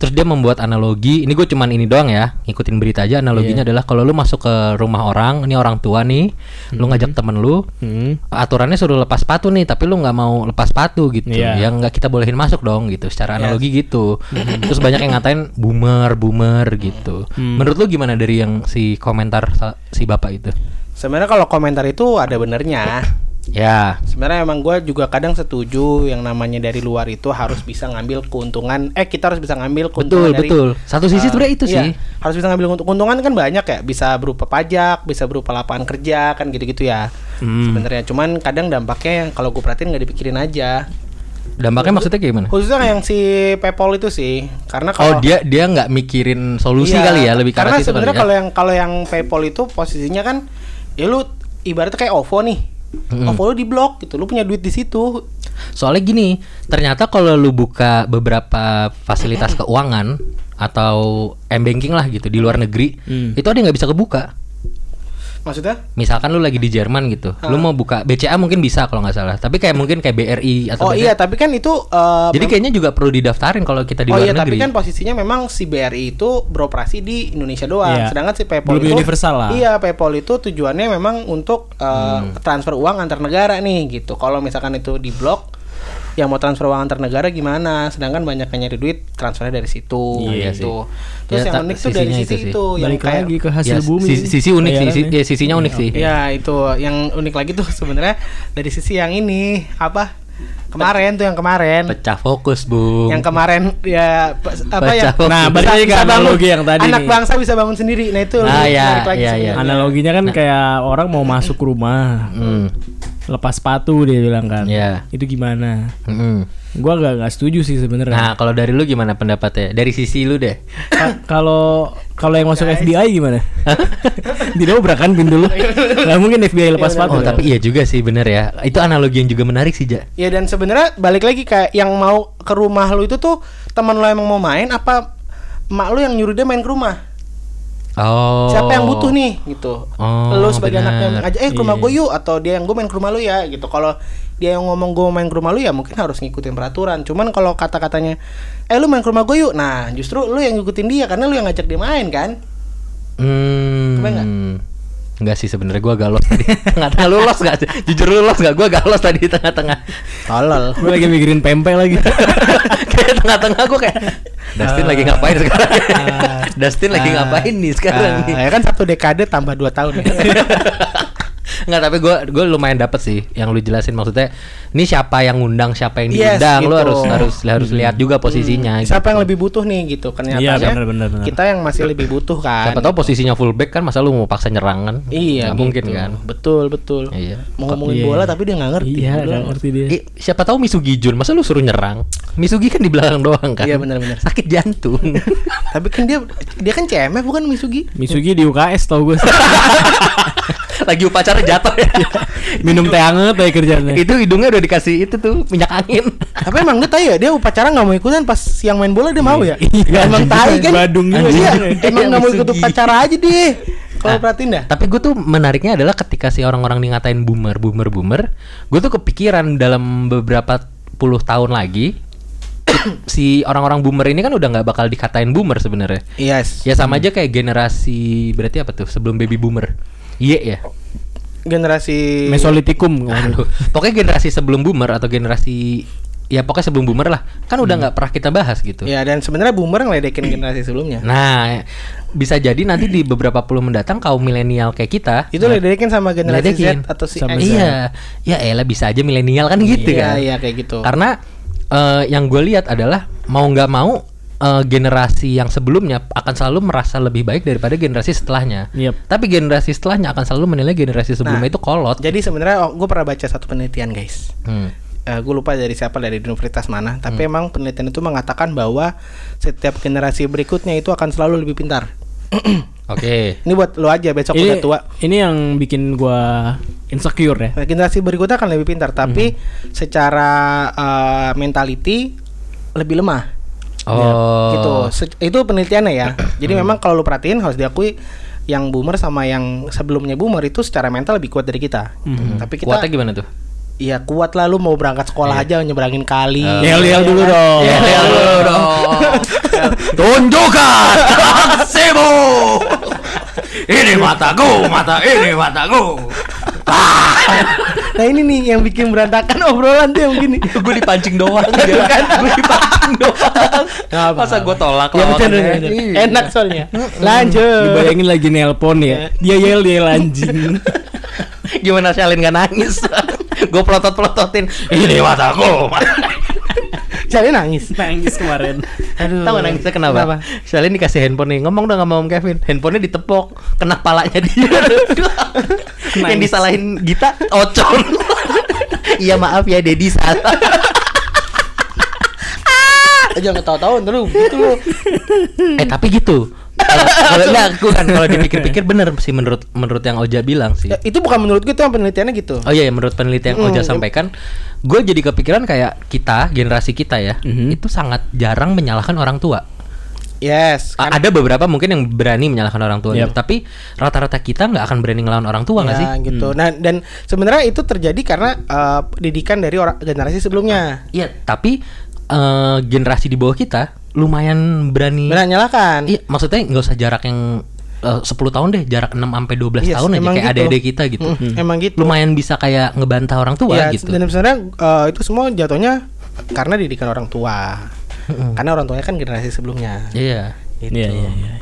Speaker 2: Terus dia membuat analogi, ini gue cuman ini doang ya, ngikutin berita aja analoginya
Speaker 3: Iya.
Speaker 2: adalah kalau lu masuk ke rumah orang, ini orang tua nih,
Speaker 3: Mm-hmm.
Speaker 2: lu ngajak temen lu,
Speaker 1: Hmm.
Speaker 2: aturannya suruh lepas sepatu nih tapi lu nggak mau lepas sepatu gitu
Speaker 1: Iya.
Speaker 2: yang nggak kita bolehin masuk dong
Speaker 3: Iya.
Speaker 2: gitu secara analogi gitu
Speaker 3: Hmm.
Speaker 2: terus banyak yang ngatain boomer boomer gitu menurut lu gimana dari yang si komentar sa- si bapak itu
Speaker 3: Sebenarnya kalau komentar itu ada benernya.
Speaker 2: ya
Speaker 3: Sebenarnya emang gue juga kadang setuju yang namanya dari luar itu harus bisa ngambil keuntungan. Eh kita harus bisa ngambil
Speaker 2: betul
Speaker 3: keuntungan dari
Speaker 2: betul satu sisi
Speaker 3: Eh,
Speaker 2: sebenarnya itu
Speaker 3: iya,
Speaker 2: sih
Speaker 3: harus bisa ngambil keuntung- keuntungan kan banyak ya bisa berupa pajak bisa berupa lapangan kerja kan gitu-gitu ya
Speaker 2: Mhm.
Speaker 3: sebenarnya cuman kadang dampaknya yang kalau gue perhatiin nggak dipikirin aja
Speaker 2: dampaknya maksudnya kayak gimana
Speaker 3: khususnya yang si PayPal itu sih karena
Speaker 2: oh
Speaker 3: kalau
Speaker 2: dia dia nggak mikirin solusi
Speaker 3: Iya,
Speaker 2: kali ya lebih ke
Speaker 3: karena
Speaker 2: arah situ kali
Speaker 3: sebenarnya
Speaker 2: ya.
Speaker 3: kalau yang kalau yang PayPal itu posisinya kan ya lu ibaratnya kayak OVO nih OVO lu di blok gitu lu punya duit di situ
Speaker 2: Soalnya gini, ternyata kalau lu buka beberapa fasilitas keuangan atau m-banking lah gitu di luar negeri,
Speaker 3: Hmm.
Speaker 2: itu ada yang nggak bisa kebuka.
Speaker 3: maksudnya
Speaker 2: Misalkan lu lagi di Jerman gitu, lu mau buka BCA mungkin bisa kalau nggak salah. Tapi kayak mungkin kayak BRI
Speaker 3: oh
Speaker 2: atau BCA.
Speaker 3: iya tapi kan itu eh,
Speaker 2: Jadi kayaknya juga perlu didaftarin kalau kita di
Speaker 3: oh
Speaker 2: luar
Speaker 3: iya, tapi
Speaker 2: negeri.
Speaker 3: kan posisinya memang si BRI itu beroperasi di Indonesia doang,
Speaker 1: Iya.
Speaker 3: sedangkan si PayPal
Speaker 1: Belum
Speaker 3: itu
Speaker 1: universal lah.
Speaker 3: Iya, PayPal itu tujuannya memang untuk uh,
Speaker 2: Hmm.
Speaker 3: transfer uang antar negara nih gitu. Kalau misalkan itu di blok yang mau transfer uang antar negara gimana? Sedangkan banyak yang nyari duit transfernya dari situ
Speaker 2: Iya
Speaker 3: gitu.
Speaker 2: sih.
Speaker 3: Terus
Speaker 2: Ya,
Speaker 3: yang
Speaker 2: tak-
Speaker 3: unik tuh dari
Speaker 2: sisinya
Speaker 3: sisi
Speaker 2: itu sih.
Speaker 3: itu, yang
Speaker 1: Balik
Speaker 3: kayak
Speaker 1: lagi ke hasil
Speaker 2: Ya,
Speaker 1: bumi.
Speaker 2: Sisi, sisi unik sih, sisi,
Speaker 1: Bayarannya. Iya,
Speaker 2: ya, sisinya unik sih.
Speaker 3: Ya itu yang unik lagi tuh sebenarnya dari sisi yang ini apa? Kemarin tuh yang kemarin.
Speaker 2: Pecah fokus, Bung.
Speaker 3: yang kemarin ya pe- apa ya
Speaker 2: Baca.
Speaker 1: Nah, balik
Speaker 3: Bisa-
Speaker 1: lagi ke
Speaker 3: bisa bangun.
Speaker 1: analogi yang tadi
Speaker 3: anak
Speaker 1: nih. iya,
Speaker 3: bangsa bisa bangun sendiri nah itu
Speaker 2: Ah,
Speaker 3: lebih
Speaker 2: ya,
Speaker 3: menarik lagi
Speaker 2: ya,
Speaker 3: sebenarnya.
Speaker 2: ya.
Speaker 1: Analoginya
Speaker 3: Nah.
Speaker 1: kan kayak orang mau masuk rumah,
Speaker 2: Hmm,
Speaker 1: lepas sepatu dia bilang kan.
Speaker 2: Iya.
Speaker 1: Itu gimana?
Speaker 2: hmm.
Speaker 1: Gua agak nggak setuju sih sebenarnya.
Speaker 2: Nah, kalau dari lu gimana pendapatnya? Dari sisi lu deh.
Speaker 1: Ka- Kalau kalau yang masuk FBI gimana? Dilobrak kan pintu lu. Nggak mungkin FBI lepas sepatu.
Speaker 2: Oh, tapi iya juga sih bener ya. Itu analogi yang juga menarik sih, Ja.
Speaker 3: ya dan sebenarnya balik lagi kayak yang mau ke rumah lu itu tuh teman lu emang mau main apa mak lu yang nyuruh dia main ke rumah
Speaker 2: Oh.
Speaker 3: siapa yang butuh nih gitu
Speaker 2: Oh,
Speaker 3: lu sebagai anaknya
Speaker 2: benar.
Speaker 3: aja eh ke
Speaker 1: Iya.
Speaker 3: rumah gue yuk atau dia yang gue main ke rumah lu ya gitu kalau dia yang ngomong gue main ke rumah lu ya mungkin harus ngikutin peraturan cuman kalau kata-katanya eh lu main ke rumah gue yuk nah justru lu yang ngikutin dia karena lu yang ngajak dia main kan
Speaker 2: Hmm.
Speaker 3: Kebayang nggak?
Speaker 2: Enggak sih sebenarnya gua agak lost tadi. Tengah-tengah lu lost enggak? Jujur lu lost enggak? Gua agak lost tadi di tengah-tengah.
Speaker 3: tolol
Speaker 1: Gue lagi mikirin pempek lagi.
Speaker 2: kayak tengah-tengah gua kayak Dustin
Speaker 3: Ah.
Speaker 2: lagi ngapain sekarang?
Speaker 1: Nah,
Speaker 2: Dustin lagi ngapain nih sekarang
Speaker 3: Ah,
Speaker 2: nih?
Speaker 3: ya kan satu dekade tambah dua tahun ya.
Speaker 2: Enggak, tapi gue gue lumayan dapet sih yang lu jelasin maksudnya. Ini siapa yang ngundang, siapa yang
Speaker 3: Yes,
Speaker 2: diundang.
Speaker 3: gitu.
Speaker 2: Lu
Speaker 3: Hmm.
Speaker 2: harus harus harus lihat juga posisinya. gitu.
Speaker 3: Siapa yang lebih butuh nih gitu kan
Speaker 1: Iya,
Speaker 3: nyatanya
Speaker 1: benar, benar, benar.
Speaker 3: Kita yang masih lebih butuh kan.
Speaker 2: Siapa tahu posisinya fullback kan masa lu mau paksa nyerang kan?
Speaker 3: Iya,
Speaker 2: Nggak
Speaker 3: gitu.
Speaker 2: mungkin kan.
Speaker 3: Betul, betul.
Speaker 2: Iya.
Speaker 3: Mau ngomongin
Speaker 1: Iya.
Speaker 3: bola tapi dia nggak ngerti.
Speaker 1: Iya,
Speaker 3: Bola.
Speaker 1: nggak ngerti dia.
Speaker 2: Eh, siapa tahu Misugi Jun, masa lu suruh nyerang? Misugi kan di belakang doang kan?
Speaker 3: Iya, benar-benar.
Speaker 2: Sakit jantung.
Speaker 3: Tapi kan dia dia kan CMF bukan Misugi.
Speaker 1: Misugi di UKS tau gue
Speaker 2: Lagi upacara jatuh ya.
Speaker 1: Minum teh anget aja
Speaker 3: Iya.
Speaker 1: kerjanya
Speaker 2: itu hidungnya udah dikasih itu tuh minyak angin.
Speaker 3: Tapi emang dia tai ya, dia upacara nggak mau ikutan pas siang main bola dia mau ya.
Speaker 1: Iya,
Speaker 3: emang
Speaker 1: anjing.
Speaker 3: tai kan.
Speaker 1: Badung juga
Speaker 3: Iya,
Speaker 1: dia.
Speaker 3: emang nggak mau ikut
Speaker 2: Misugi.
Speaker 3: upacara aja dia. Kalau
Speaker 2: Nah,
Speaker 3: perhatiin dah.
Speaker 2: Tapi gue tuh menariknya adalah ketika si orang-orang nih ngatain boomer, boomer, boomer, gue tuh kepikiran dalam beberapa puluh tahun lagi si orang-orang boomer ini kan udah nggak bakal dikatain boomer sebenarnya.
Speaker 3: Yes.
Speaker 2: Ya sama aja kayak generasi berarti apa tuh sebelum baby boomer. Iya ya.
Speaker 3: Generasi
Speaker 1: Mesolitikum
Speaker 2: Aduh. Pokoknya generasi sebelum boomer atau generasi ya pokoknya sebelum boomer lah. Kan udah nggak pernah kita bahas gitu.
Speaker 3: Ya dan sebenarnya boomer ngeledekin generasi sebelumnya.
Speaker 2: Iya. Nah, bisa jadi nanti di beberapa puluh mendatang kaum milenial kayak kita
Speaker 3: Itu ledekin sama generasi
Speaker 2: Ledekin.
Speaker 3: Z atau si
Speaker 1: Sama
Speaker 3: X.
Speaker 1: Z.
Speaker 2: Iya, ya elah bisa aja milenial kan gitu
Speaker 3: Iya,
Speaker 2: kan.
Speaker 3: iya, kayak gitu.
Speaker 2: Karena eh, yang gue lihat adalah mau nggak mau eh, generasi yang sebelumnya akan selalu merasa lebih baik daripada generasi setelahnya.
Speaker 1: Yep.
Speaker 2: Tapi generasi setelahnya akan selalu menilai generasi
Speaker 3: Nah,
Speaker 2: sebelumnya itu kolot.
Speaker 3: Jadi sebenarnya gue pernah baca satu penelitian guys.
Speaker 2: Hmm.
Speaker 3: gue lupa dari siapa dari universitas mana. Tapi emang penelitian itu mengatakan bahwa setiap generasi berikutnya itu akan selalu lebih pintar.
Speaker 2: Oke.
Speaker 3: Ini buat lo aja besok
Speaker 1: ini,
Speaker 3: udah tua.
Speaker 1: ini yang bikin gua insecure ya
Speaker 3: Nah, Generasi berikutnya akan lebih pintar, tapi
Speaker 2: Hmm.
Speaker 3: secara eh, mentality lebih lemah.
Speaker 2: Oh. Hmm.
Speaker 3: gitu Se- itu penelitiannya ya jadi memang kalau lu perhatiin harus diakui yang boomer sama yang sebelumnya boomer itu secara mental lebih kuat dari kita Hmm, tapi kita
Speaker 2: Hmm. Kuatnya gimana tuh?
Speaker 3: ya kuat lah lu mau berangkat sekolah aja nyebrangin kali
Speaker 1: Yel-yel dulu
Speaker 3: Oh,
Speaker 1: dong
Speaker 3: iya,
Speaker 2: Ya, ya, lu dong. Tunjukkan aksimu. Ini mataku, mata ini mataku.
Speaker 3: nah ini nih yang bikin berantakan obrolan tuh yang begini
Speaker 2: gue dipancing doang gitu kan gue dipancing doang masa gue tolak
Speaker 3: Ya,
Speaker 2: lawannya?
Speaker 3: bercanda, bercanda.
Speaker 2: Iya.
Speaker 3: enak soalnya lanjut
Speaker 1: Dibayangin lagi nelpon ya Dia yel yel anjing
Speaker 2: gimana Shalin gak nangis Iya. gue pelotot pelototin ini mataku
Speaker 3: jadi nangis
Speaker 1: Nangis kemarin
Speaker 3: aduh
Speaker 2: Tahu gak nangisnya kenapa? Shalin dikasih handphone nih Ngomong dong sama Om Kevin Handphonenya ditepok Kena palanya dia Yang
Speaker 1: Nangis.
Speaker 2: disalahin Gita Ocon Iya maaf ya Dedi salah
Speaker 3: jangan ketawa-tawa ntar lu gitu lu
Speaker 2: Eh tapi gitu Kalau enggak gue kan Kalau dipikir-pikir bener sih Menurut menurut yang Oja bilang sih
Speaker 3: Ya, itu bukan menurut gue itu yang penelitiannya gitu
Speaker 2: Oh iya, ya, menurut penelitian yang Oja sampaikan, gue jadi kepikiran kayak kita, generasi kita ya,
Speaker 3: Mm-hmm.
Speaker 1: Mhm.
Speaker 2: itu sangat jarang menyalahkan orang tua.
Speaker 3: yes
Speaker 2: A- Ada beberapa mungkin yang berani menyalahkan orang tua, gitu,
Speaker 1: Yep.
Speaker 2: tapi rata-rata kita nggak akan berani ngelawan orang tua nggak
Speaker 3: Ya,
Speaker 2: sih?
Speaker 3: gitu. Nah, dan sebenarnya itu terjadi karena eh, pendidikan dari orang generasi sebelumnya.
Speaker 2: Iya, tapi eh, generasi di bawah kita lumayan berani.
Speaker 3: Benar nyalakan.
Speaker 2: Iya, maksudnya nggak usah jarak yang eh, 10 tahun deh, jarak 6 sampai
Speaker 3: Yes,
Speaker 2: 12 tahun aja
Speaker 3: emang
Speaker 2: kayak
Speaker 3: gitu.
Speaker 2: adik-adik kita gitu.
Speaker 3: Mm, Mm. emang gitu.
Speaker 2: Lumayan bisa kayak ngebantah orang tua
Speaker 3: Ya,
Speaker 2: gitu.
Speaker 3: Dan sebenarnya eh, itu semua jatuhnya karena didikan orang tua. Karena orang tuanya kan generasi sebelumnya.
Speaker 2: Iya.
Speaker 3: Gitu.
Speaker 1: Iya iya iya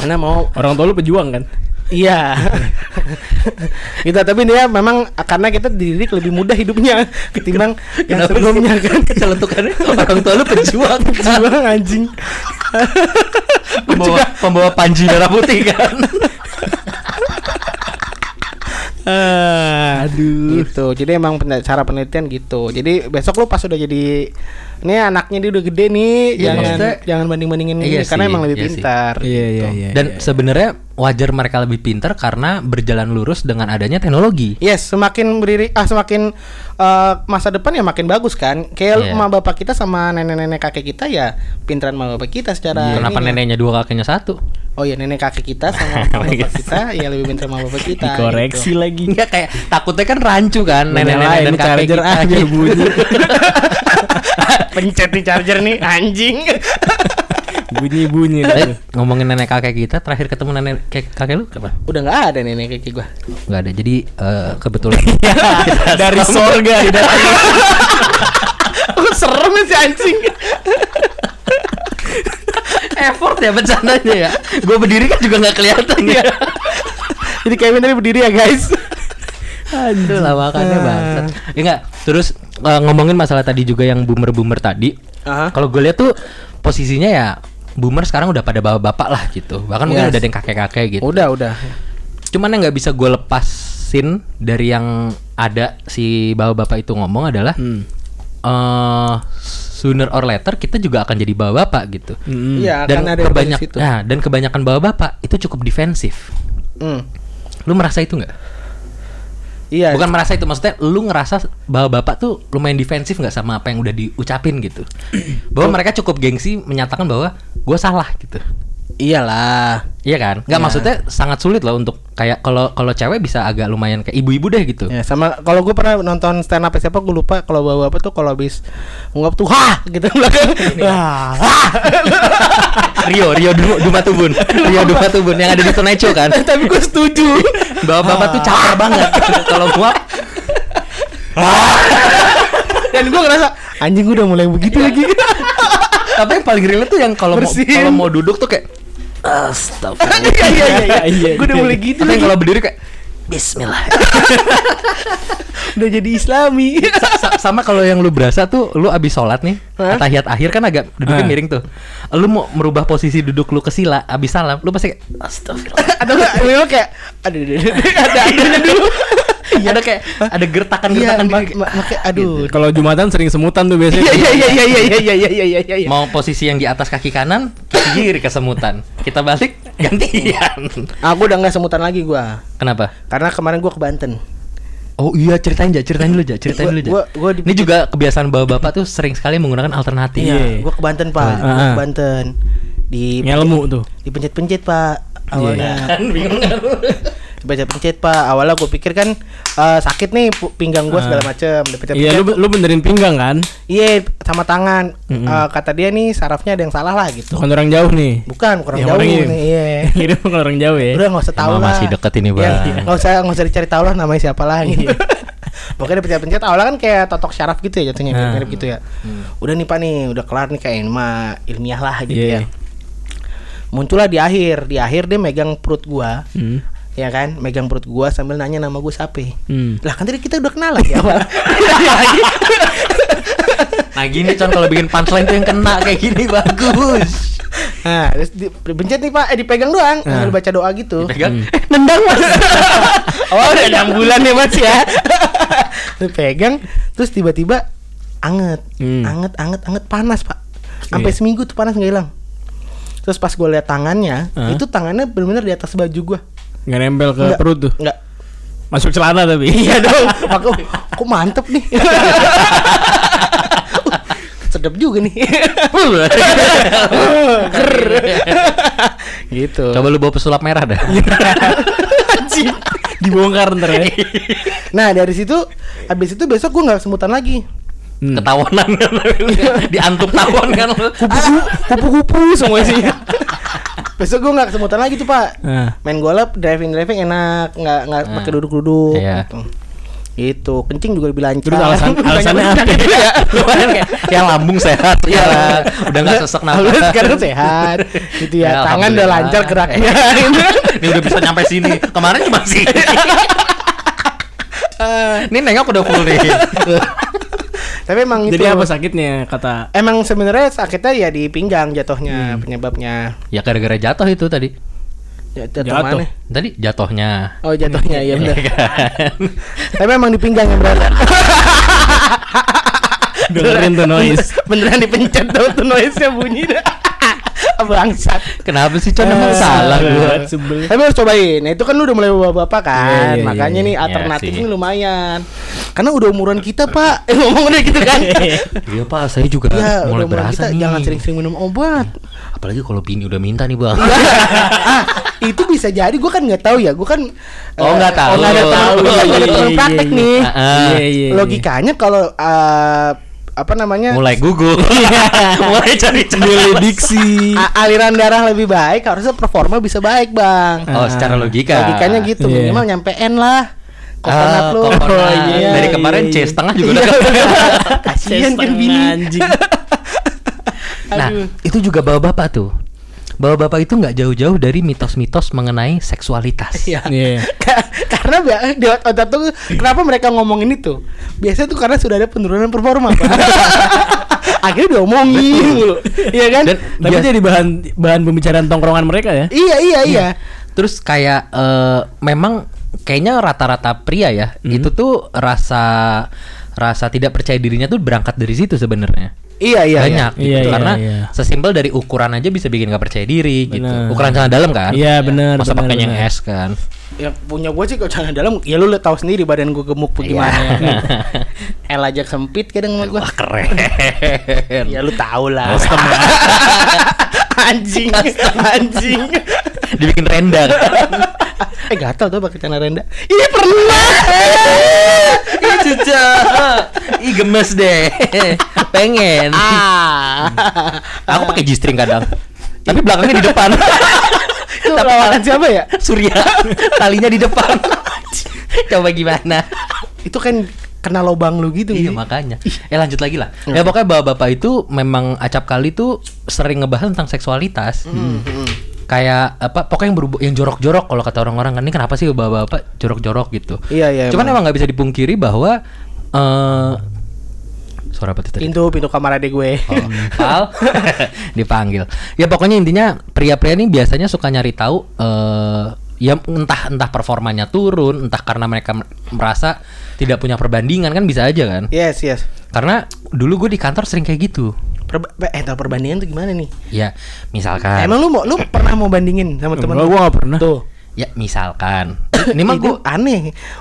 Speaker 3: Karena mau
Speaker 1: Orang tua lu pejuang kan
Speaker 3: iya. gitu, tapi dia memang karena kita dididik lebih mudah hidupnya ketimbang yang
Speaker 2: Kenapa
Speaker 3: sebelumnya
Speaker 2: sih?
Speaker 3: kan.
Speaker 2: Celetukannya orang tua lu pejuang kan?
Speaker 3: Sebelum anjing.
Speaker 2: pembawa, pembawa panji merah putih kan
Speaker 1: Aduh
Speaker 3: gitu jadi emang penda- cara penelitian gitu jadi besok lu pas udah jadi ini anaknya dia udah gede nih
Speaker 2: Iya,
Speaker 3: jangan
Speaker 2: maksudnya-
Speaker 3: jangan banding bandingin
Speaker 2: Iya
Speaker 3: ini karena
Speaker 2: sih,
Speaker 3: emang lebih
Speaker 2: iya sih.
Speaker 3: pintar
Speaker 1: Iya iya iya
Speaker 2: dan sebenarnya wajar mereka lebih pintar karena berjalan lurus dengan adanya teknologi
Speaker 3: yes semakin berdiri ah semakin eh, masa depan ya makin bagus kan kayak
Speaker 2: Iya.
Speaker 3: emak bapak kita sama nenek nenek kakek kita ya pintaran emak bapak kita secara
Speaker 2: Iya. kenapa
Speaker 3: ininya.
Speaker 2: neneknya dua kakeknya satu
Speaker 3: oh iya nenek kakek kita sama emak bapak kita ya lebih pintar emak bapak kita
Speaker 1: Dikoreksi
Speaker 3: gitu.
Speaker 1: lagi
Speaker 2: Enggak kayak takutnya kan rancu kan Iya. nenek-nenek dan kakek
Speaker 1: charger
Speaker 2: kita
Speaker 1: aja bunyi
Speaker 3: pencet nih charger nih anjing
Speaker 1: Bunyi-bunyi
Speaker 2: Eh,
Speaker 1: gitu.
Speaker 2: ngomongin nenek kakek kita terakhir ketemu nenek kakek, kakek lu kapan?
Speaker 3: udah nggak ada nenek kakek gua
Speaker 2: Enggak ada. Jadi eh, kebetulan
Speaker 1: Dari sorga Iya. datang.
Speaker 3: aku serem sih anjing
Speaker 2: effort ya bercandanya ya. Gue berdiri kan juga nggak kelihatan ya.
Speaker 3: jadi Kevin tadi berdiri ya guys
Speaker 2: Aduh lah makannya bangsat. Ya enggak, terus eh, ngomongin masalah tadi juga yang boomer-boomer tadi.
Speaker 3: Aha.
Speaker 2: Kalau gue lihat tuh posisinya ya boomer sekarang udah pada bapak-bapak lah gitu. Bahkan mungkin
Speaker 3: Yes.
Speaker 2: udah ada yang kakek-kakek gitu.
Speaker 3: Udah, udah.
Speaker 2: Cuman yang nggak bisa gue lepasin dari yang ada si bapak-bapak itu ngomong adalah
Speaker 3: Hmm.
Speaker 2: eh, sooner or later kita juga akan jadi bapak-bapak gitu.
Speaker 3: Iya,
Speaker 2: Dan
Speaker 3: akan ada yang
Speaker 2: kebanyak,
Speaker 3: dari situ.
Speaker 2: nah, dan kebanyakan bapak-bapak itu cukup defensif.
Speaker 3: Hmm.
Speaker 2: Lu merasa itu nggak?
Speaker 3: Iya.
Speaker 2: Bukan merasa itu maksudnya lu ngerasa bahwa bapak tuh lumayan defensif nggak sama apa yang udah diucapin gitu. bahwa mereka cukup gengsi menyatakan bahwa gue salah gitu.
Speaker 3: Iyalah.
Speaker 2: Iya kan? Nggak
Speaker 3: Iya.
Speaker 2: maksudnya sangat sulit loh untuk kayak kalau kalau cewek bisa agak lumayan kayak ibu-ibu deh gitu.
Speaker 3: Ya, sama kalau gue pernah nonton stand up siapa gue lupa kalau bawa apa tuh kalau habis ngop tuh ha gitu belakang. Wah, ha!
Speaker 2: Rio, Rio Duma, Dumatubun. Rio Dumatubun yang ada di Tonecho kan.
Speaker 3: Tapi gue setuju.
Speaker 2: Bahwa bapak tuh caper banget kalau gua
Speaker 3: Dan gue ngerasa anjing gue udah mulai begitu lagi.
Speaker 2: tapi yang paling relate tuh yang kalau mau
Speaker 3: Bersin.
Speaker 2: kalau mau duduk tuh kayak astagfirullah.
Speaker 3: Iya iya
Speaker 1: Iya,
Speaker 3: iya. Gue udah
Speaker 1: iya.
Speaker 3: mulai gitu
Speaker 2: Tapi yang
Speaker 3: lagi.
Speaker 2: kalau berdiri kayak bismillah.
Speaker 3: Udah jadi Islami.
Speaker 2: Sa- sa- sama kalau yang lu berasa tuh lu abis sholat nih
Speaker 3: Hah?
Speaker 2: tahiyat akhir kan agak duduknya
Speaker 1: Hah.
Speaker 2: miring tuh lu mau merubah posisi duduk lu ke sila abis salam lu pasti kayak astagfirullah
Speaker 3: Atau enggak Iya, lu kayak aduh aduh, aduh, aduh, ada adanya dulu.
Speaker 2: ada kayak ada gertakan
Speaker 3: Iya,
Speaker 2: gertakan
Speaker 3: mak- mak- makanya aduh.
Speaker 1: Kalau Jumatan sering semutan tuh biasanya.
Speaker 3: Iya iya iya iya iya iya iya iya iya iya.
Speaker 2: mau posisi yang di atas kaki kanan kiri kesemutan kita balik gantian
Speaker 3: Aku Ah, udah nggak semutan lagi gue.
Speaker 2: kenapa
Speaker 3: Karena kemarin gue ke Banten.
Speaker 2: Oh iya ceritain aja, ceritain dulu aja, ceritain dulu aja.
Speaker 3: Gua- gua di-
Speaker 2: Ini juga kebiasaan bapak-bapak tuh sering sekali menggunakan alternatif.
Speaker 3: Iya, Ya. gue ke Banten pak, Gua
Speaker 1: Ah.
Speaker 3: ke Banten di
Speaker 1: Ngelmu tuh.
Speaker 3: dipencet-pencet pak awalnya.
Speaker 2: Kan bingung kan lu?
Speaker 3: Dipencet-pencet pak awalnya gue pikir kan eh, sakit nih pu- pinggang gue segala macem. Dipencet-pencet.
Speaker 1: Iya, lu lu benerin pinggang kan?
Speaker 3: Iya sama tangan. Eh, kata dia nih sarafnya ada yang salah lah gitu.
Speaker 1: Bukan kan orang jauh nih.
Speaker 3: Bukan kurang
Speaker 1: Ya,
Speaker 3: jauh
Speaker 1: orang ini.
Speaker 3: nih. Iya.
Speaker 1: Kirim ke orang jauh ya.
Speaker 3: Udah nggak usah tahu
Speaker 2: Iya. Emang
Speaker 3: lah.
Speaker 2: masih deket ini, Iya.
Speaker 3: Iya,
Speaker 2: Bang.
Speaker 3: Nggak usah nggak usah dicari tahu lah namanya siapa lah gitu. Pokoknya dipencet-pencet awalnya kan kayak totok syaraf gitu ya
Speaker 2: Ah.
Speaker 3: jatuhnya
Speaker 1: Nah.
Speaker 3: mirip gitu ya.
Speaker 2: Hmm.
Speaker 3: Udah nih pak nih udah kelar nih kayak mah ilmiah lah gitu
Speaker 1: Iya.
Speaker 3: ya. Muncullah di akhir, di akhir dia megang perut gua.
Speaker 1: Hmm.
Speaker 3: Ya kan, megang perut gua sambil nanya nama gua siapa.
Speaker 1: Hmm.
Speaker 3: Lah kan tadi kita udah kenal lagi Iya, awal.
Speaker 2: Nah gini con kalau bikin punchline tuh yang kena kayak gini bagus.
Speaker 3: Nah, terus di- dipencet nih Pak, eh dipegang doang,
Speaker 2: Ah.
Speaker 3: sambil baca doa gitu.
Speaker 2: Pegang.
Speaker 3: nendang mas oh udah enam bulan ya mas ya Lu pegang terus tiba-tiba anget
Speaker 1: Hmm.
Speaker 3: anget anget anget panas pak sampai seminggu tuh panas nggak hilang terus pas gue lihat tangannya
Speaker 1: Hah?
Speaker 3: itu tangannya benar-benar di atas baju gue
Speaker 1: Hmm. Nggak nempel ke perut tuh.
Speaker 3: nggak
Speaker 1: Masuk celana tapi.
Speaker 3: iya dong aku aku mantep nih Uh, sedap juga nih gitu
Speaker 2: Coba lu bawa pesulap merah dah.
Speaker 3: Iya.
Speaker 1: Dibongkar ntar ya.
Speaker 3: nah dari situ habis itu besok gue nggak semutan lagi
Speaker 1: Hmm.
Speaker 2: Ketawanan kan lu. Diantuk tawon kan lu.
Speaker 3: kupu-kupu kupu-kupu semua sih besok gue nggak kesemutan lagi tuh pak
Speaker 1: Nah.
Speaker 3: main golap driving driving enak nggak nggak
Speaker 1: Ah.
Speaker 3: pakai duduk-duduk
Speaker 2: Iya.
Speaker 3: gitu. gitu kencing juga lebih lancar
Speaker 1: Terus alasan alasannya apa?
Speaker 3: Iya.
Speaker 2: Lumayan Iya. kayak yang lambung sehat ya lah. Udah nggak sesek
Speaker 3: Lu
Speaker 2: nafas.
Speaker 3: Iya. sekarang kan sehat gitu ya,
Speaker 2: Ya,
Speaker 3: tangan udah
Speaker 2: alhamdulillah.
Speaker 3: lancar geraknya
Speaker 2: Ini udah bisa nyampe sini. Kemarin cuma sini. Ini nengok udah full nih.
Speaker 3: tapi emang
Speaker 2: Gitu.
Speaker 1: Jadi
Speaker 3: itu
Speaker 1: apa sakitnya kata
Speaker 3: emang sebenarnya sakitnya ya di pinggang
Speaker 1: Hmm.
Speaker 3: jatuhnya penyebabnya
Speaker 2: Ya gara-gara jatuh itu tadi.
Speaker 3: Ya, jatuh,
Speaker 1: Jatuh.
Speaker 3: mana
Speaker 2: Tadi jatuhnya.
Speaker 3: oh jatuhnya ya benar
Speaker 2: kan?
Speaker 3: tapi emang di pinggang yang berasa
Speaker 1: dengerin tuh noise?
Speaker 3: beneran dipencet tuh tuh noise-nya bunyi dah bangsat
Speaker 2: Kenapa sih Con emang Eh, salah gua?
Speaker 3: Iya,
Speaker 1: banget, sebel.
Speaker 3: Tapi harus cobain. Nah, itu kan lu udah mulai bapak-bapak kan.
Speaker 1: Iya, iya, iya,
Speaker 3: Makanya nih
Speaker 2: iya
Speaker 3: alternatif
Speaker 2: sih.
Speaker 3: ini lumayan. Karena udah umuran kita, Pak. Eh, ngomong udah gitu kan.
Speaker 2: Iya pak, saya juga
Speaker 3: ya, udah
Speaker 2: mulai
Speaker 3: umuran
Speaker 2: berasa
Speaker 3: kita
Speaker 2: nih.
Speaker 3: jangan sering-sering minum obat.
Speaker 2: Apalagi kalau bini udah minta nih bang.
Speaker 3: ah, itu bisa jadi gua kan nggak tahu ya. Gua kan
Speaker 2: Oh,
Speaker 3: eh,
Speaker 2: nggak tahu.
Speaker 3: Oh, nggak ada tahu. Gua kan
Speaker 1: Iya,
Speaker 3: udah
Speaker 1: iya,
Speaker 3: turun
Speaker 1: iya,
Speaker 3: praktek
Speaker 1: iya.
Speaker 3: nih.
Speaker 2: Ah, ah.
Speaker 1: Iya, iya, iya.
Speaker 3: Logikanya kalau eh, apa namanya?
Speaker 2: mulai gugup. Iya,
Speaker 3: Iya.
Speaker 2: mulai cari cari.
Speaker 1: Milih diksi.
Speaker 3: a- aliran darah lebih baik, harusnya performa bisa baik, Bang.
Speaker 2: Oh, secara logika.
Speaker 3: Logikanya gitu,
Speaker 1: Iya.
Speaker 3: minimal nyampe N lah. Kokonat
Speaker 2: Ah,
Speaker 3: lu. Nah,
Speaker 2: coconut.
Speaker 1: Oh, iya,
Speaker 2: Dari
Speaker 1: iya,
Speaker 2: kemarin C
Speaker 1: iya.
Speaker 2: setengah juga udah
Speaker 3: Kasihan kan
Speaker 1: Setengah
Speaker 3: bini.
Speaker 1: anjing.
Speaker 2: Nah, itu juga bawa bapak tuh. bahwa bapak itu nggak jauh-jauh dari mitos-mitos mengenai seksualitas.
Speaker 3: Iya.
Speaker 1: Iya.
Speaker 3: Ka- karena ba- di otak tuh kenapa mereka ngomongin itu? Biasanya tuh karena sudah ada penurunan performa. Pak. Akhirnya diomongin dulu. Iya kan?
Speaker 2: Dan-
Speaker 1: Tapi
Speaker 2: Bias-
Speaker 1: jadi bahan bahan pembicaraan tongkrongan mereka ya.
Speaker 3: iya, iya, iya.
Speaker 2: Terus kayak eh, memang kayaknya rata-rata pria ya itu tuh rasa rasa tidak percaya dirinya tuh berangkat dari situ sebenarnya.
Speaker 3: Iya, iya. iya.
Speaker 2: banyak gitu.
Speaker 1: Iya, iya,
Speaker 2: karena
Speaker 1: iya.
Speaker 2: sesimpel dari ukuran aja bisa bikin gak percaya diri
Speaker 1: Bener.
Speaker 2: gitu ukuran celana dalam kan
Speaker 1: Iya, bener, bener,
Speaker 2: masa pakainya yang
Speaker 1: bener.
Speaker 2: S kan
Speaker 3: yang Ya, punya gue sih kalau celana dalam ya lu tahu sendiri badan gue gemuk bagaimana L aja sempit kadang sama gue
Speaker 2: Iya. wah ya. keren
Speaker 3: ya lu tau lah anjing anjing
Speaker 2: dibikin rendang
Speaker 3: eh gatal tuh pakai celana rendah ini pernah
Speaker 2: ih cuca ih gemes deh pengen
Speaker 3: ah
Speaker 2: aku pakai G-string kadang tapi belakangnya di depan
Speaker 3: itu lawan siapa ya
Speaker 2: Surya talinya di depan coba gimana
Speaker 3: itu kan kena lubang lu gitu
Speaker 2: Iya
Speaker 3: Ji.
Speaker 2: makanya. Eh lanjut lagi lah.
Speaker 3: Iya.
Speaker 2: Ya pokoknya bapak-bapak itu memang acap kali tuh sering ngebahas tentang seksualitas.
Speaker 3: Hmm,
Speaker 2: Kayak apa? Pokoknya yang berhubung- yang jorok-jorok kalau kata orang-orang kan ini kenapa sih bapak-bapak jorok-jorok gitu?
Speaker 3: Iya, iya,
Speaker 2: Cuman
Speaker 3: emang.
Speaker 2: emang nggak bisa dipungkiri bahwa eh suara apa tuh tadi?
Speaker 3: pintu pintu kamar adik gue
Speaker 2: Oh, Pal dipanggil. Ya pokoknya intinya pria-pria ini biasanya suka nyari tahu eh ya entah entah performanya turun, entah karena mereka merasa tidak punya perbandingan kan bisa aja kan.
Speaker 3: yes yes
Speaker 2: Karena dulu gue di kantor sering kayak gitu.
Speaker 3: Perba eh ntar perbandingan tuh gimana nih
Speaker 2: Ya, misalkan.
Speaker 3: emang lu mau lu pernah mau bandingin sama teman
Speaker 1: Enggak, gua nggak pernah.
Speaker 3: tuh
Speaker 2: Ya, misalkan. Ini mah
Speaker 3: Ini
Speaker 2: gue
Speaker 3: aneh.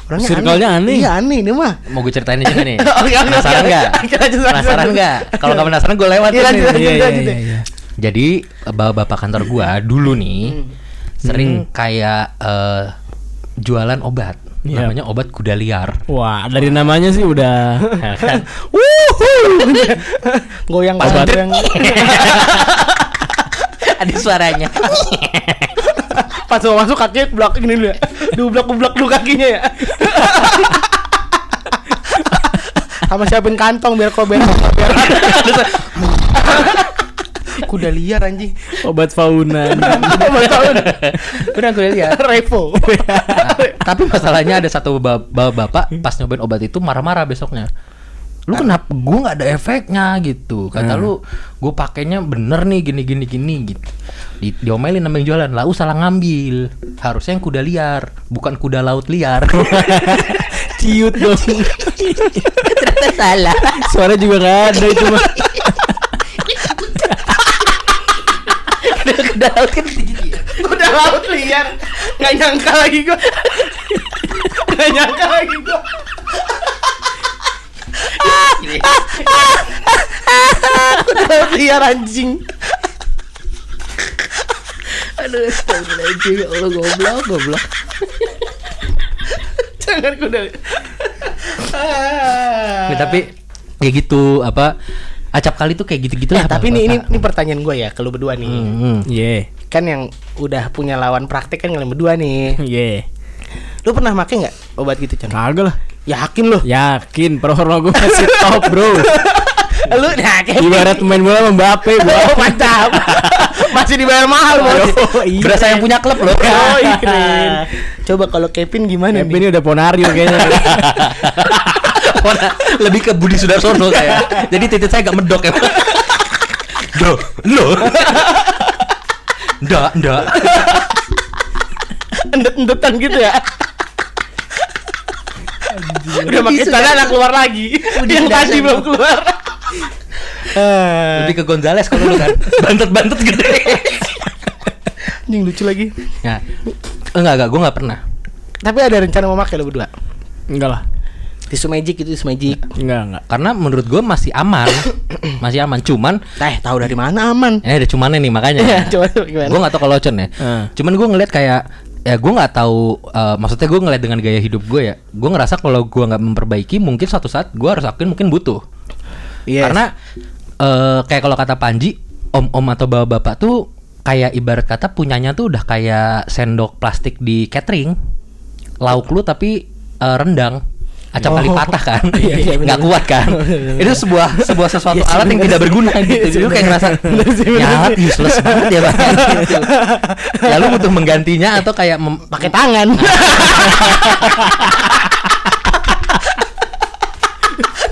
Speaker 3: Orangnya
Speaker 1: Circle-nya aneh.
Speaker 3: Iya, aneh ini mah.
Speaker 2: mau gue ceritain aja nih.
Speaker 3: Oke, Oh, oke, oke,
Speaker 2: penasaran
Speaker 3: oke.
Speaker 2: nggak?
Speaker 3: Oke, lanjut, lanjut,
Speaker 2: Penasaran
Speaker 3: lanjut.
Speaker 2: nggak? Kalau nggak penasaran gue lewat.
Speaker 3: Iya, lanjut,
Speaker 1: Iya,
Speaker 3: lanjut,
Speaker 1: iya,
Speaker 3: lanjut. Hmm.
Speaker 1: iya, iya.
Speaker 2: Jadi bapak bapak kantor gue dulu nih sering kayak eh, jualan obat.
Speaker 1: Iya.
Speaker 2: Namanya obat kuda liar.
Speaker 1: Wah, dari namanya sih udah
Speaker 2: Nah, kan?
Speaker 3: Wuhuu. goyang
Speaker 2: Pas
Speaker 3: goyang,
Speaker 2: banget.
Speaker 3: goyang.
Speaker 2: Ada suaranya.
Speaker 3: Pas mau masuk kakinya blok ini dulu ya. Dublok blok dulu kakinya ya. Sama siapin kantong biar kau belok. biar- Kuda liar anjing.
Speaker 1: obat fauna.
Speaker 3: Obat tahun.
Speaker 2: Udah kuda
Speaker 3: ya.
Speaker 2: liar.
Speaker 3: Revo.
Speaker 2: Tapi masalahnya ada satu bap- bapak-bapak pas nyobain obat itu marah-marah besoknya. Lu kenapa gua nggak ada efeknya gitu.
Speaker 3: Hmm.
Speaker 2: Kata lu gua pakainya bener nih gini gini gini gitu. Di, diomelin sama yang jualan, lah "Lu salah ngambil. Harusnya yang kuda liar, bukan kuda laut liar."
Speaker 1: Ciut dong.
Speaker 2: Ternyata salah.
Speaker 1: Suara juga nggak ada itu mah.
Speaker 2: kuda laut kan gigi-gigi ya.
Speaker 3: Kuda laut liar. Gak nyangka lagi gua. Gak nyangka lagi gua. Kuda laut liar anjing.
Speaker 2: Aduh, astagfirullahaladzim. ya Allah goblok, goblok.
Speaker 3: Jangan kuda. liar. Ah.
Speaker 2: Ya, tapi kayak gitu apa acap kali tuh kayak gitu-gitu
Speaker 3: Eh, tapi ini, ini ini pertanyaan gue ya ke lu berdua nih.
Speaker 1: Hmm. Ye.
Speaker 3: Kan yang udah punya lawan praktek kan kalian berdua nih.
Speaker 1: Ye.
Speaker 3: Lu pernah make nggak obat gitu Chan?
Speaker 1: Kagak lah.
Speaker 3: Yakin lu?
Speaker 1: Yakin performa gua masih top, Bro.
Speaker 3: lu nah kayak
Speaker 1: Ibarat main bola sama Mbappe, gua.
Speaker 3: Oh, mantap. Masih dibayar mahal, Bos.
Speaker 2: berasa yang punya klub loh.
Speaker 3: Oh, iya, keren. Coba kalau Kevin gimana
Speaker 1: Mbappe
Speaker 3: nih?
Speaker 1: ini udah ponario kayaknya.
Speaker 2: Warna lebih ke Budi Sudarsono saya. Jadi titik saya agak medok ya. Bro, lo. Nggak, nggak.
Speaker 3: Endet-endetan gitu ya. Udah
Speaker 2: Budi
Speaker 3: makin tanah anak keluar lagi. Yang
Speaker 2: sudah
Speaker 3: tadi
Speaker 2: sembuh.
Speaker 3: belum keluar. Eh,
Speaker 2: Lebih ke Gonzales kalau lu kan. Bantet-bantet gede.
Speaker 3: anjing lucu lagi.
Speaker 2: Nah, enggak enggak, gua enggak pernah.
Speaker 3: Tapi ada rencana mau pakai lo berdua.
Speaker 1: Enggak lah.
Speaker 3: Tisu magic itu tisu magic.
Speaker 1: Enggak, enggak.
Speaker 2: Karena menurut gua masih aman. Masih aman, cuman
Speaker 3: Eh, tahu dari mana aman?
Speaker 2: ini ada cumannya nih makanya.
Speaker 3: Iya, coba tuh gimana? Hmm.
Speaker 2: gue nggak tahu kalau Ocon ya
Speaker 1: Heeh.
Speaker 2: cuman gue ngeliat kayak ya gue nggak tahu eh, maksudnya gue ngeliat dengan gaya hidup gue ya gue ngerasa kalau gue nggak memperbaiki mungkin suatu saat gue harus akuin mungkin butuh
Speaker 3: Yes.
Speaker 2: karena eh, kayak kalau kata Panji om-om atau bapak-bapak tuh kayak ibarat kata punyanya tuh udah kayak sendok plastik di catering lauk lu tapi eh, rendang acap kali
Speaker 1: Oh.
Speaker 2: patah kan
Speaker 1: Iya, iya, benar.
Speaker 2: nggak kuat kan
Speaker 1: Benar, benar,
Speaker 2: itu sebuah sebuah sesuatu
Speaker 1: Iya sih,
Speaker 2: alat yang
Speaker 1: benar
Speaker 2: tidak
Speaker 1: sih.
Speaker 2: berguna
Speaker 1: Iya
Speaker 2: gitu
Speaker 1: sih,
Speaker 2: Jadi lu kayak
Speaker 1: benar.
Speaker 2: ngerasa
Speaker 1: Benar sih,
Speaker 2: ya
Speaker 1: benar
Speaker 2: alat
Speaker 1: sih."
Speaker 2: useless banget ya bang gitu. ya lu butuh menggantinya atau kayak mem-
Speaker 3: pakai tangan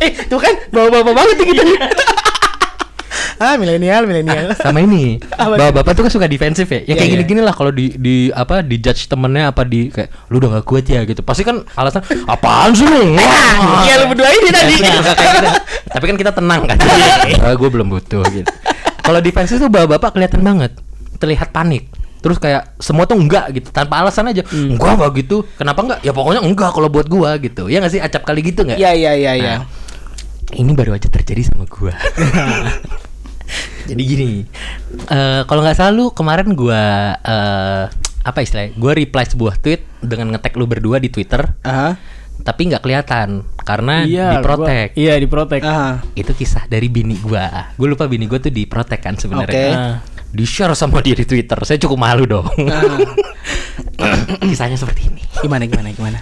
Speaker 3: eh tuh kan bawa bawa banget nih kita nih. ah milenial milenial
Speaker 2: sama ini
Speaker 3: Apa
Speaker 2: bapak bapak tuh kan suka defensif ya
Speaker 3: Iya,
Speaker 2: ya kayak
Speaker 3: iya.
Speaker 2: gini gini lah kalau di di apa di judge temennya apa di kayak lu udah gak kuat ya gitu pasti kan alasan apaan sih lu Wah."
Speaker 3: Iya, lu berdua ini
Speaker 2: Ya,
Speaker 3: tadi.
Speaker 2: iya, nggak kayak gitu. tapi kan kita tenang kan gue belum butuh gitu kalau defensif tuh bapak bapak kelihatan banget terlihat panik terus kayak semua tuh enggak gitu tanpa alasan aja
Speaker 3: Hmm.
Speaker 2: enggak enggak gitu kenapa enggak ya pokoknya enggak kalau buat gua gitu ya nggak sih acap kali gitu nggak
Speaker 3: ya ya ya ya
Speaker 2: Nah, ini baru aja terjadi sama gua. Jadi gini, eh, kalau nggak salah lu kemarin gua eh, apa istilahnya? Gua reply sebuah tweet dengan ngetek lu berdua di Twitter,
Speaker 3: ah
Speaker 2: tapi nggak kelihatan karena
Speaker 1: protek
Speaker 2: diprotek.
Speaker 1: Iya, diprotek.
Speaker 3: ah
Speaker 2: Itu kisah dari bini gua. Gue lupa bini gua tuh diprotek kan sebenarnya.
Speaker 3: Oke.
Speaker 1: Ah.
Speaker 2: Di share sama dia di Twitter. Saya cukup malu dong. Ah. Kisahnya seperti ini.
Speaker 1: Gimana gimana gimana?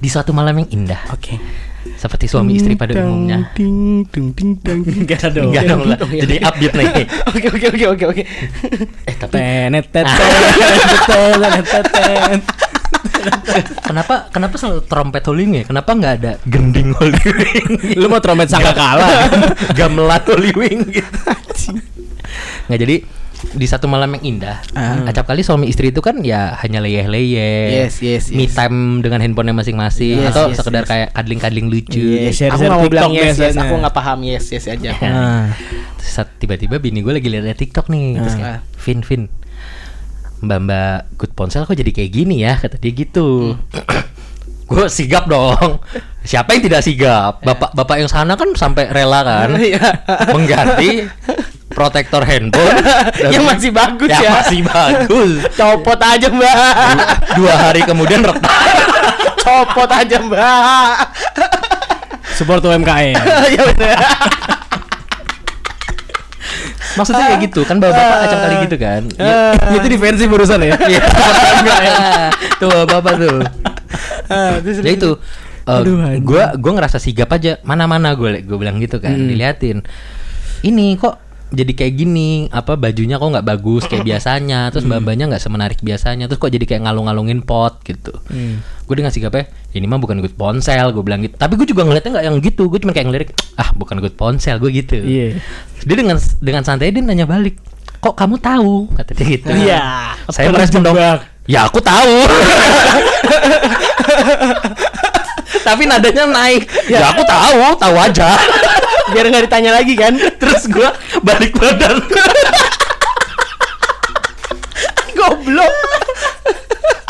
Speaker 2: Di suatu malam yang indah,
Speaker 1: Oke.
Speaker 2: seperti suami istri pada umumnya.
Speaker 1: Ding ding ding ding. Enggak ada dong.
Speaker 2: Enggak dong lah. Jadi update nih.
Speaker 3: oke oke oke oke oke
Speaker 2: Eh tapi
Speaker 1: Tenet tenet tenet, tenet tenet.
Speaker 2: kenapa kenapa selalu trompet holiwing ya? Kenapa nggak ada gending holiwing?
Speaker 1: Lu mau trompet sangka
Speaker 3: ya?
Speaker 1: kalah.
Speaker 2: gamelan holiwing gitu. Nggak jadi di satu malam yang indah,
Speaker 3: Ah.
Speaker 2: acap kali suami istri itu kan ya hanya leyeh-leyeh,
Speaker 3: Yes, yes, yes.
Speaker 2: me time dengan handphonenya masing-masing,
Speaker 3: Yes,
Speaker 2: atau
Speaker 3: yes,
Speaker 2: sekedar
Speaker 3: yes.
Speaker 2: kayak kadling-kadling
Speaker 1: Yes,
Speaker 2: lucu.
Speaker 1: yes.
Speaker 3: Iya, aku
Speaker 1: Share-share
Speaker 3: nggak mau bilang
Speaker 1: TikTok
Speaker 3: yes yes
Speaker 1: biasanya.
Speaker 3: aku nggak paham yes yes aja
Speaker 2: Ya. Terus saat tiba-tiba bini gue lagi liat TikTok nih,
Speaker 3: Ah.
Speaker 2: terus kayak, Vin Vin, Mbak Mbak Good Ponsel kok jadi kayak gini ya kata dia
Speaker 3: Hmm.
Speaker 2: gitu. gue sigap dong. Siapa yang tidak sigap? Bapak bapak yang sana kan sampai rela kan
Speaker 3: Eh. Iya.
Speaker 2: mengganti protektor handphone
Speaker 3: yang masih bagus
Speaker 2: Yang
Speaker 3: ya,
Speaker 2: masih bagus.
Speaker 3: copot aja mbak
Speaker 2: Dua hari kemudian retak.
Speaker 3: copot aja mbak
Speaker 1: Support UMKM.
Speaker 3: ya bener
Speaker 2: Maksudnya kayak gitu kan bapak-bapak acap kali gitu kan.
Speaker 3: Ah.
Speaker 2: Iya.
Speaker 1: Itu defensif barusan ya.
Speaker 2: Iya. Tuh bapak tuh.
Speaker 3: Ah, terus-
Speaker 2: ya itu eh,
Speaker 1: Aduh, anjing.
Speaker 2: gua gua ngerasa sigap aja mana-mana gue gue bilang gitu kan
Speaker 1: Hmm.
Speaker 2: diliatin ini kok jadi kayak gini apa bajunya kok nggak bagus kayak biasanya terus
Speaker 1: Hmm.
Speaker 2: mbak-mbaknya nggak semenarik biasanya terus kok jadi kayak ngalung-ngalungin pot gitu gue dengan sigapnya ini mah bukan good ponsel gue bilang gitu tapi gue juga ngeliatnya nggak yang gitu gue cuma kayak ngelirik ah bukan good ponsel gue gitu
Speaker 1: Iya.
Speaker 2: dia dengan dengan santai dia nanya balik kok kamu tahu kata dia gitu
Speaker 1: Iya.
Speaker 2: saya
Speaker 1: Terus
Speaker 2: merespon dong
Speaker 1: jebak.
Speaker 2: ya aku tahu tapi nadanya naik ya, aku tahu tahu aja
Speaker 3: biar nggak ditanya lagi kan
Speaker 2: terus gua balik badan
Speaker 3: goblok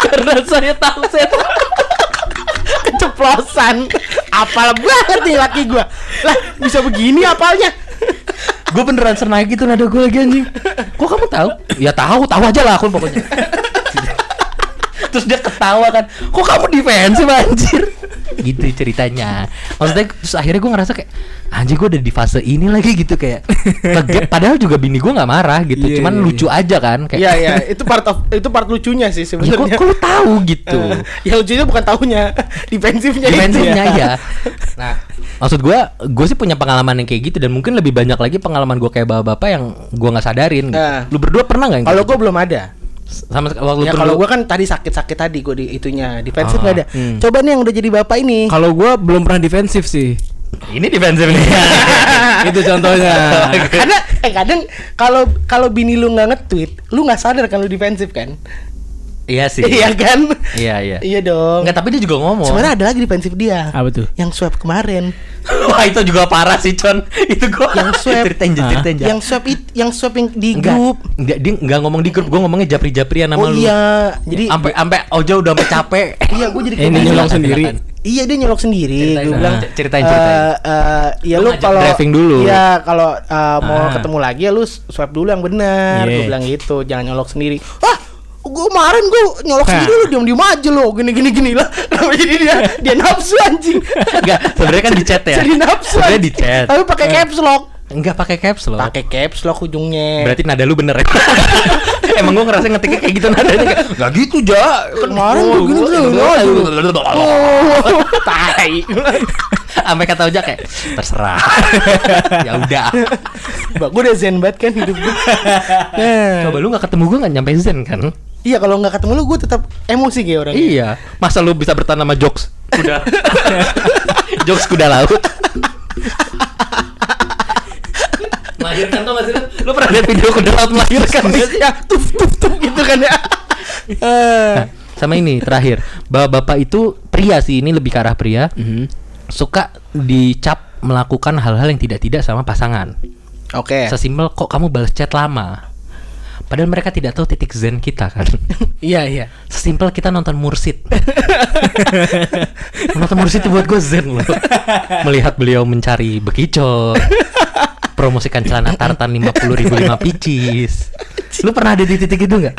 Speaker 2: karena saya tahu saya tahu
Speaker 3: keceplosan apal banget nih laki gua lah bisa begini apalnya
Speaker 2: gue beneran senaik gitu nada gue lagi anjing kok kamu tahu ya tahu tahu aja lah aku pokoknya terus dia ketawa kan kok kamu defensif anjir gitu ceritanya maksudnya terus akhirnya gue ngerasa kayak anjir gue udah di fase ini lagi gitu kayak kaget padahal juga bini gue nggak marah gitu
Speaker 1: Iya,
Speaker 2: cuman
Speaker 1: iya,
Speaker 2: lucu aja kan kayak
Speaker 3: Iya ya itu part of itu part lucunya sih
Speaker 2: "Ya, kok,
Speaker 3: sebenarnya
Speaker 2: kok lu tahu gitu
Speaker 3: Eh, ya lucunya bukan tahunya defensifnya itu
Speaker 2: defensifnya ya nah maksud gua gue sih punya pengalaman yang kayak gitu dan mungkin lebih banyak lagi pengalaman gue kayak bapak-bapak yang gua nggak sadarin gitu.
Speaker 3: Nah.
Speaker 2: lu berdua pernah nggak yang
Speaker 3: kalau
Speaker 2: kayak gitu?
Speaker 3: gua belum ada
Speaker 2: sama sek- waktu
Speaker 3: ya
Speaker 2: itu
Speaker 3: kalau
Speaker 2: lu-
Speaker 3: gua kan tadi sakit-sakit tadi gua di itunya defensif
Speaker 2: Ah,
Speaker 3: nggak ada
Speaker 1: hmm.
Speaker 3: coba nih yang udah jadi bapak ini
Speaker 1: Kalau gua belum pernah defensif sih.
Speaker 2: ini defensif nih
Speaker 1: Itu contohnya.
Speaker 3: karena eh kadang kalau kalau bini lu nggak nge-tweet lu nggak sadar kan lu defensif kan
Speaker 2: iya sih
Speaker 3: iya kan
Speaker 2: iya iya
Speaker 3: iya dong
Speaker 2: Enggak, tapi dia juga ngomong
Speaker 3: sebenarnya ada lagi defensif dia
Speaker 1: Apa tuh?
Speaker 3: yang swab kemarin
Speaker 2: wah itu juga parah sih con itu gua
Speaker 3: Yang swab.
Speaker 2: ceritain
Speaker 1: Hah?
Speaker 2: ceritain
Speaker 3: yang swab it yang swab yang di
Speaker 2: enggak
Speaker 3: grup
Speaker 2: enggak dia enggak ngomong di grup gua ngomongnya japri japrian sama
Speaker 3: oh
Speaker 2: lu
Speaker 3: iya jadi
Speaker 2: sampai sampai ojo udah sampai capek
Speaker 3: iya gue jadi
Speaker 1: Eh, ini
Speaker 3: kepikiran.
Speaker 1: nyolong sendiri.
Speaker 3: Iya dia nyolok sendiri.
Speaker 2: Ceritain,
Speaker 3: Gue bilang
Speaker 2: ah. Ceritain, ceritain.
Speaker 3: "Eh, eh, ya
Speaker 2: Lu
Speaker 3: lu
Speaker 2: ngajak
Speaker 3: kalau
Speaker 2: driving dulu." Nah.
Speaker 3: Iya kalau eh, mau
Speaker 1: Ah.
Speaker 3: ketemu lagi ya lu swab dulu yang benar.
Speaker 1: Yes.
Speaker 3: Gue bilang gitu, jangan nyolok sendiri. Wah, gue kemarin gue nyolok
Speaker 2: Nah.
Speaker 1: Hah.
Speaker 3: sendiri lu diam diam aja lo gini gini gini lah kenapa jadi dia dia nafsu anjing
Speaker 2: enggak sebenarnya kan di chat ya
Speaker 3: jadi nafsu
Speaker 2: sebenarnya
Speaker 3: anjing.
Speaker 2: di chat Nah.
Speaker 3: tapi pakai caps lock
Speaker 2: enggak pakai caps loh
Speaker 3: pakai caps lock ujungnya
Speaker 2: berarti nada lu bener ya Emang gue ngerasa ngetiknya kayak gitu nadanya Oh, iya, kayak, Gak gitu ja
Speaker 3: Kemarin gua gini terus, Oh.
Speaker 2: Tai Sampai kata ojak kayak Terserah Ya udah
Speaker 3: Mbak, gue udah zen banget kan hidup gue. Eh.
Speaker 2: Coba lu gak ketemu gue gak nyampe zen kan
Speaker 3: iya kalau nggak ketemu lu gue tetap emosi kayak orang.
Speaker 2: Iya Masa lu bisa bertahan sama jokes Kuda Jokes kuda laut Melahirkan tuh gak sih lu? Lu pernah lihat video kuda laut melahirkan nggak sih?
Speaker 3: Ya, tuf tuf tuf gitu kan ya. Eh,
Speaker 2: Nah, sama ini terakhir bapak-bapak itu pria sih ini lebih ke arah pria
Speaker 1: Mhm.
Speaker 2: suka dicap melakukan hal-hal yang tidak-tidak sama pasangan.
Speaker 3: Oke.
Speaker 2: Sesimpel kok kamu balas chat lama. Padahal mereka tidak tahu titik zen kita kan.
Speaker 3: Iya iya.
Speaker 2: Sesimpel kita nonton Mursid. nonton Mursid itu buat gue zen loh. Melihat beliau mencari bekicot. Promosikan celana tartan 50.005 ribu picis. Lu pernah ada di titik itu nggak?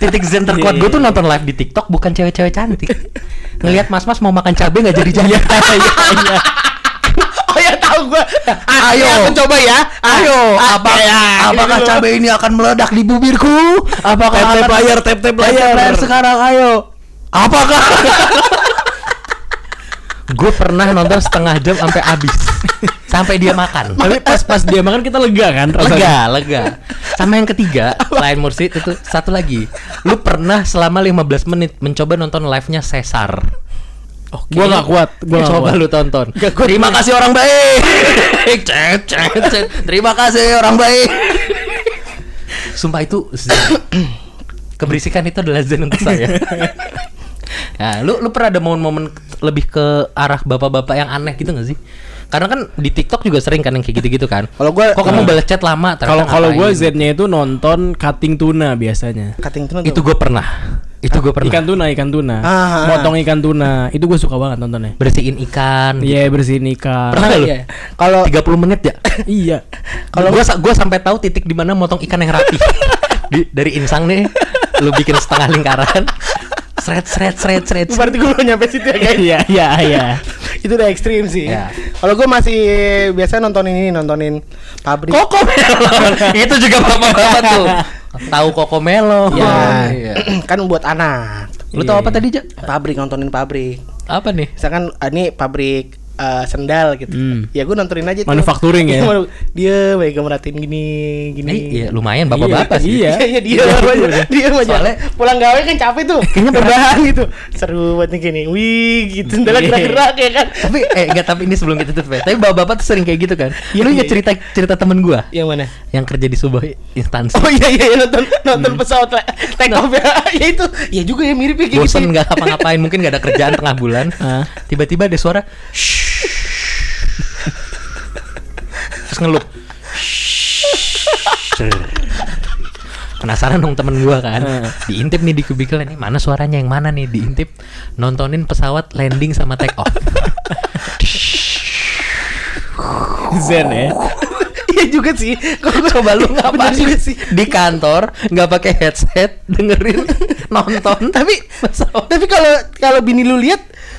Speaker 2: Titik zen
Speaker 3: Iya,
Speaker 2: terkuat gue tuh nonton live di TikTok bukan cewek-cewek cantik. Ngelihat mas-mas mau makan cabe nggak jadi jadi.
Speaker 3: Iya, Oh ya tahu gue.
Speaker 2: Ayo.
Speaker 3: Aku coba ya. Ayo.
Speaker 2: apa
Speaker 3: ya,
Speaker 2: apakah
Speaker 3: gitu.
Speaker 2: cabe ini akan meledak di bibirku? Apakah
Speaker 1: Tap-tap
Speaker 2: akan-
Speaker 1: layar, tap-tap layar.
Speaker 2: sekarang ayo. Apakah? gue pernah nonton setengah jam sampai habis. sampai dia makan.
Speaker 1: Tapi pas pas dia makan kita lega kan rasanya.
Speaker 2: Lega, lega. Sama yang ketiga, selain Mursi itu tuh, satu lagi. Lu pernah selama 15 menit mencoba nonton live-nya Cesar.
Speaker 1: Gua nggak kuat, gua nggak
Speaker 2: Ya, Coba
Speaker 1: kuat.
Speaker 2: lu tonton. Terima kasih orang baik. Cet, cet, cet. Terima kasih orang baik. Sumpah itu zen. keberisikan itu adalah zen untuk saya. Nah, lu lu pernah ada momen-momen lebih ke arah bapak-bapak yang aneh gitu gak sih? Karena kan di TikTok juga sering kan yang kayak gitu-gitu kan.
Speaker 3: Kalau gua-
Speaker 2: kok kamu balas chat lama ternyata
Speaker 1: Kalau kalau gue
Speaker 2: ngapain?
Speaker 1: Z-nya itu nonton cutting tuna biasanya.
Speaker 3: Kating tuna
Speaker 2: itu gue pernah. Itu gue pernah.
Speaker 1: Ikan tuna, ikan tuna.
Speaker 3: Ah, ah, ah.
Speaker 1: Motong ikan tuna. Itu gue suka banget nontonnya.
Speaker 2: bersihin ikan. gitu.
Speaker 1: Iya, bersihin ikan.
Speaker 2: Pernah nggak lu?
Speaker 3: Iya. Kalau
Speaker 2: 30 menit ya.
Speaker 1: Iya.
Speaker 2: Kalau gua sa- gua sampai tahu titik di mana motong ikan yang rapi. Di- dari insang nih lu bikin setengah lingkaran. Sret sret sret sret. sret.
Speaker 3: berarti gue belum nyampe situ ya guys.
Speaker 1: Iya, iya, iya.
Speaker 3: itu udah ekstrim sih.
Speaker 2: Ya.
Speaker 3: Kalau gue masih biasa nontonin ini nontonin pabrik.
Speaker 2: Koko melon. Itu juga bapak-bapak tuh. Tahu koko melon.
Speaker 3: Ya,
Speaker 2: Iya.
Speaker 3: kan buat anak. Iya.
Speaker 2: Lu tahu apa tadi, Ja?
Speaker 3: Pabrik nontonin pabrik.
Speaker 2: Apa nih?
Speaker 3: Misalkan ah, ini pabrik eh, sendal gitu.
Speaker 1: Hmm.
Speaker 3: Ya gue nontonin aja. tuh.
Speaker 1: Manufacturing ya?
Speaker 3: Dia mereka merhatiin gini gini.
Speaker 2: Eh, iya lumayan bapak-bapak
Speaker 1: Iya,
Speaker 2: sih.
Speaker 1: iya.
Speaker 3: Iya, iya dia aja. Dia aja.
Speaker 2: Soalnya-
Speaker 3: pulang gawe kan capek tuh.
Speaker 2: Kayaknya
Speaker 3: Rebahan gitu. Seru buat nih gini. Wih, gitu sendal
Speaker 2: Iya.
Speaker 3: gerak-gerak ya kan.
Speaker 2: Tapi eh enggak tapi ini sebelum kita tutup ya. Tapi bapak-bapak tuh sering kayak gitu kan. Lu inget cerita cerita temen gua
Speaker 3: Yang mana?
Speaker 2: yang kerja di sebuah instansi.
Speaker 3: Oh iya iya iya, nonton nonton pesawat la- take off ya. ya itu. Ya juga ya mirip ya kayak gitu.
Speaker 2: bosen nggak ngapa-ngapain mungkin nggak ada kerjaan tengah bulan
Speaker 1: Hah?
Speaker 2: tiba-tiba ada suara "Shh." terus ngelup Shh. penasaran dong temen gua kan diintip nih di kubikel ini mana suaranya yang mana nih diintip nontonin pesawat landing sama take off
Speaker 1: Zen ya.
Speaker 3: Iya juga sih.
Speaker 2: coba lu
Speaker 3: Bener
Speaker 2: ngapain
Speaker 3: juga sih.
Speaker 2: di kantor nggak pakai headset dengerin nonton
Speaker 3: Tapi
Speaker 2: pesawat
Speaker 3: Oh, tapi kalau kalau bini lu lihat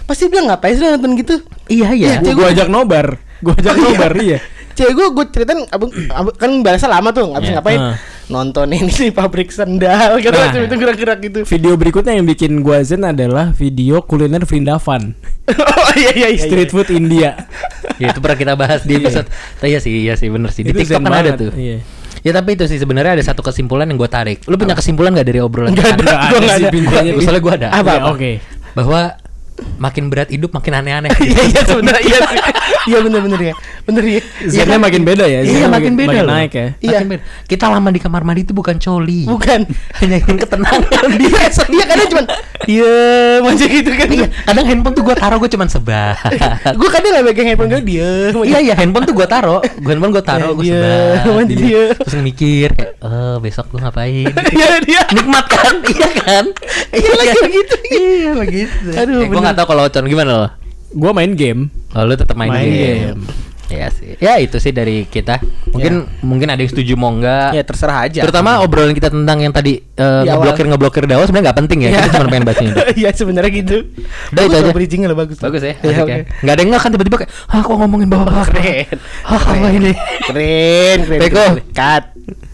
Speaker 3: pasti bilang ngapain sih lu nonton gitu?
Speaker 2: iya iya
Speaker 1: Gua, gua ajak nobar. Gua ajak
Speaker 3: Oh, iya.
Speaker 1: nobar, iya.
Speaker 3: Cewek gue gue ceritain abang, abang- kan bahasa lama tuh abis
Speaker 2: Iya.
Speaker 3: ngapain
Speaker 1: Ah.
Speaker 3: nontonin ini pabrik sendal gitu
Speaker 1: Nah.
Speaker 3: macam itu gerak-gerak gitu.
Speaker 1: Video berikutnya yang bikin gua zen adalah video kuliner Vrindavan.
Speaker 3: oh iya iya iya.
Speaker 1: Street food India.
Speaker 2: ya itu pernah kita bahas di
Speaker 1: Iya.
Speaker 2: episode. Tapi iya sih, iya sih bener sih. Di
Speaker 1: Itu
Speaker 2: TikTok
Speaker 1: zen
Speaker 2: kan ada
Speaker 1: banget,
Speaker 2: tuh.
Speaker 1: Iya.
Speaker 2: Ya tapi itu sih sebenarnya ada satu kesimpulan yang gue tarik. Lu punya kesimpulan gak dari obrolan
Speaker 3: Nggak ada.
Speaker 2: kita?
Speaker 1: Nggak
Speaker 3: Gua
Speaker 1: ada
Speaker 3: nggak
Speaker 1: sih
Speaker 3: ada.
Speaker 1: bingkainya.
Speaker 2: Gua- soalnya gua ada.
Speaker 1: Apa?
Speaker 3: Apa-apa.
Speaker 1: Iya, Oke.
Speaker 2: Bahwa makin berat hidup makin aneh-aneh.
Speaker 3: Iya iya sebenarnya iya sih. Iya bener-bener ya. Bener ya. Iya
Speaker 1: Zennya
Speaker 3: kan?
Speaker 1: makin beda ya.
Speaker 2: Iya,
Speaker 1: zennya
Speaker 2: makin beda loh.
Speaker 1: naik ya.
Speaker 3: Iya.
Speaker 2: Makin berat. Kita lama di kamar mandi itu bukan coli.
Speaker 3: Bukan.
Speaker 2: Hanya ingin ketenangan
Speaker 3: Dia
Speaker 2: dia.
Speaker 3: dia kadang cuman diem aja gitu kan.
Speaker 2: Iya, kadang handphone tuh gue taruh gue cuman sebat.
Speaker 3: Gue kadang lah pegang handphone gue diem. aja.
Speaker 2: Iya iya handphone tuh gue taro, gue handphone gue taro, gue
Speaker 3: Iya,
Speaker 2: sebar,
Speaker 3: iya.
Speaker 2: Jadi, terus mikir kayak, eh besok gue ngapain?
Speaker 3: Iya dia.
Speaker 2: Nikmat kan, iya kan?
Speaker 3: Iya lagi begitu.
Speaker 2: Iya begitu.
Speaker 3: Aduh,
Speaker 2: Aduh, gue
Speaker 3: bener.
Speaker 2: nggak tahu kalau Ocon gimana loh.
Speaker 1: Gua main game.
Speaker 2: Oh, lu tetap main,
Speaker 1: Main game.
Speaker 2: game. Iya sih. Ya itu sih dari kita. Mungkin mungkin ada yang setuju mau enggak.
Speaker 3: Ya terserah aja.
Speaker 2: Terutama obrolan kita tentang yang tadi eh,
Speaker 3: Di awal.
Speaker 2: ngeblokir ngeblokir Dawa sebenarnya nggak penting ya. Kita cuma pengen bahas ini. doang.
Speaker 3: Iya sebenarnya gitu.
Speaker 2: Udah, itu
Speaker 3: Bagus
Speaker 2: aja.
Speaker 3: loh, bridging-nya loh bagus.
Speaker 2: Bagus ya.
Speaker 3: Iya,
Speaker 2: asik ya.
Speaker 3: oke.
Speaker 2: Nggak ada yang nggak kan tiba-tiba kayak, ah kok ngomongin bapak-bapak
Speaker 3: Keren.
Speaker 2: Hah, apa ini?
Speaker 3: Keren, keren.
Speaker 2: Peko.
Speaker 3: keren. Cut.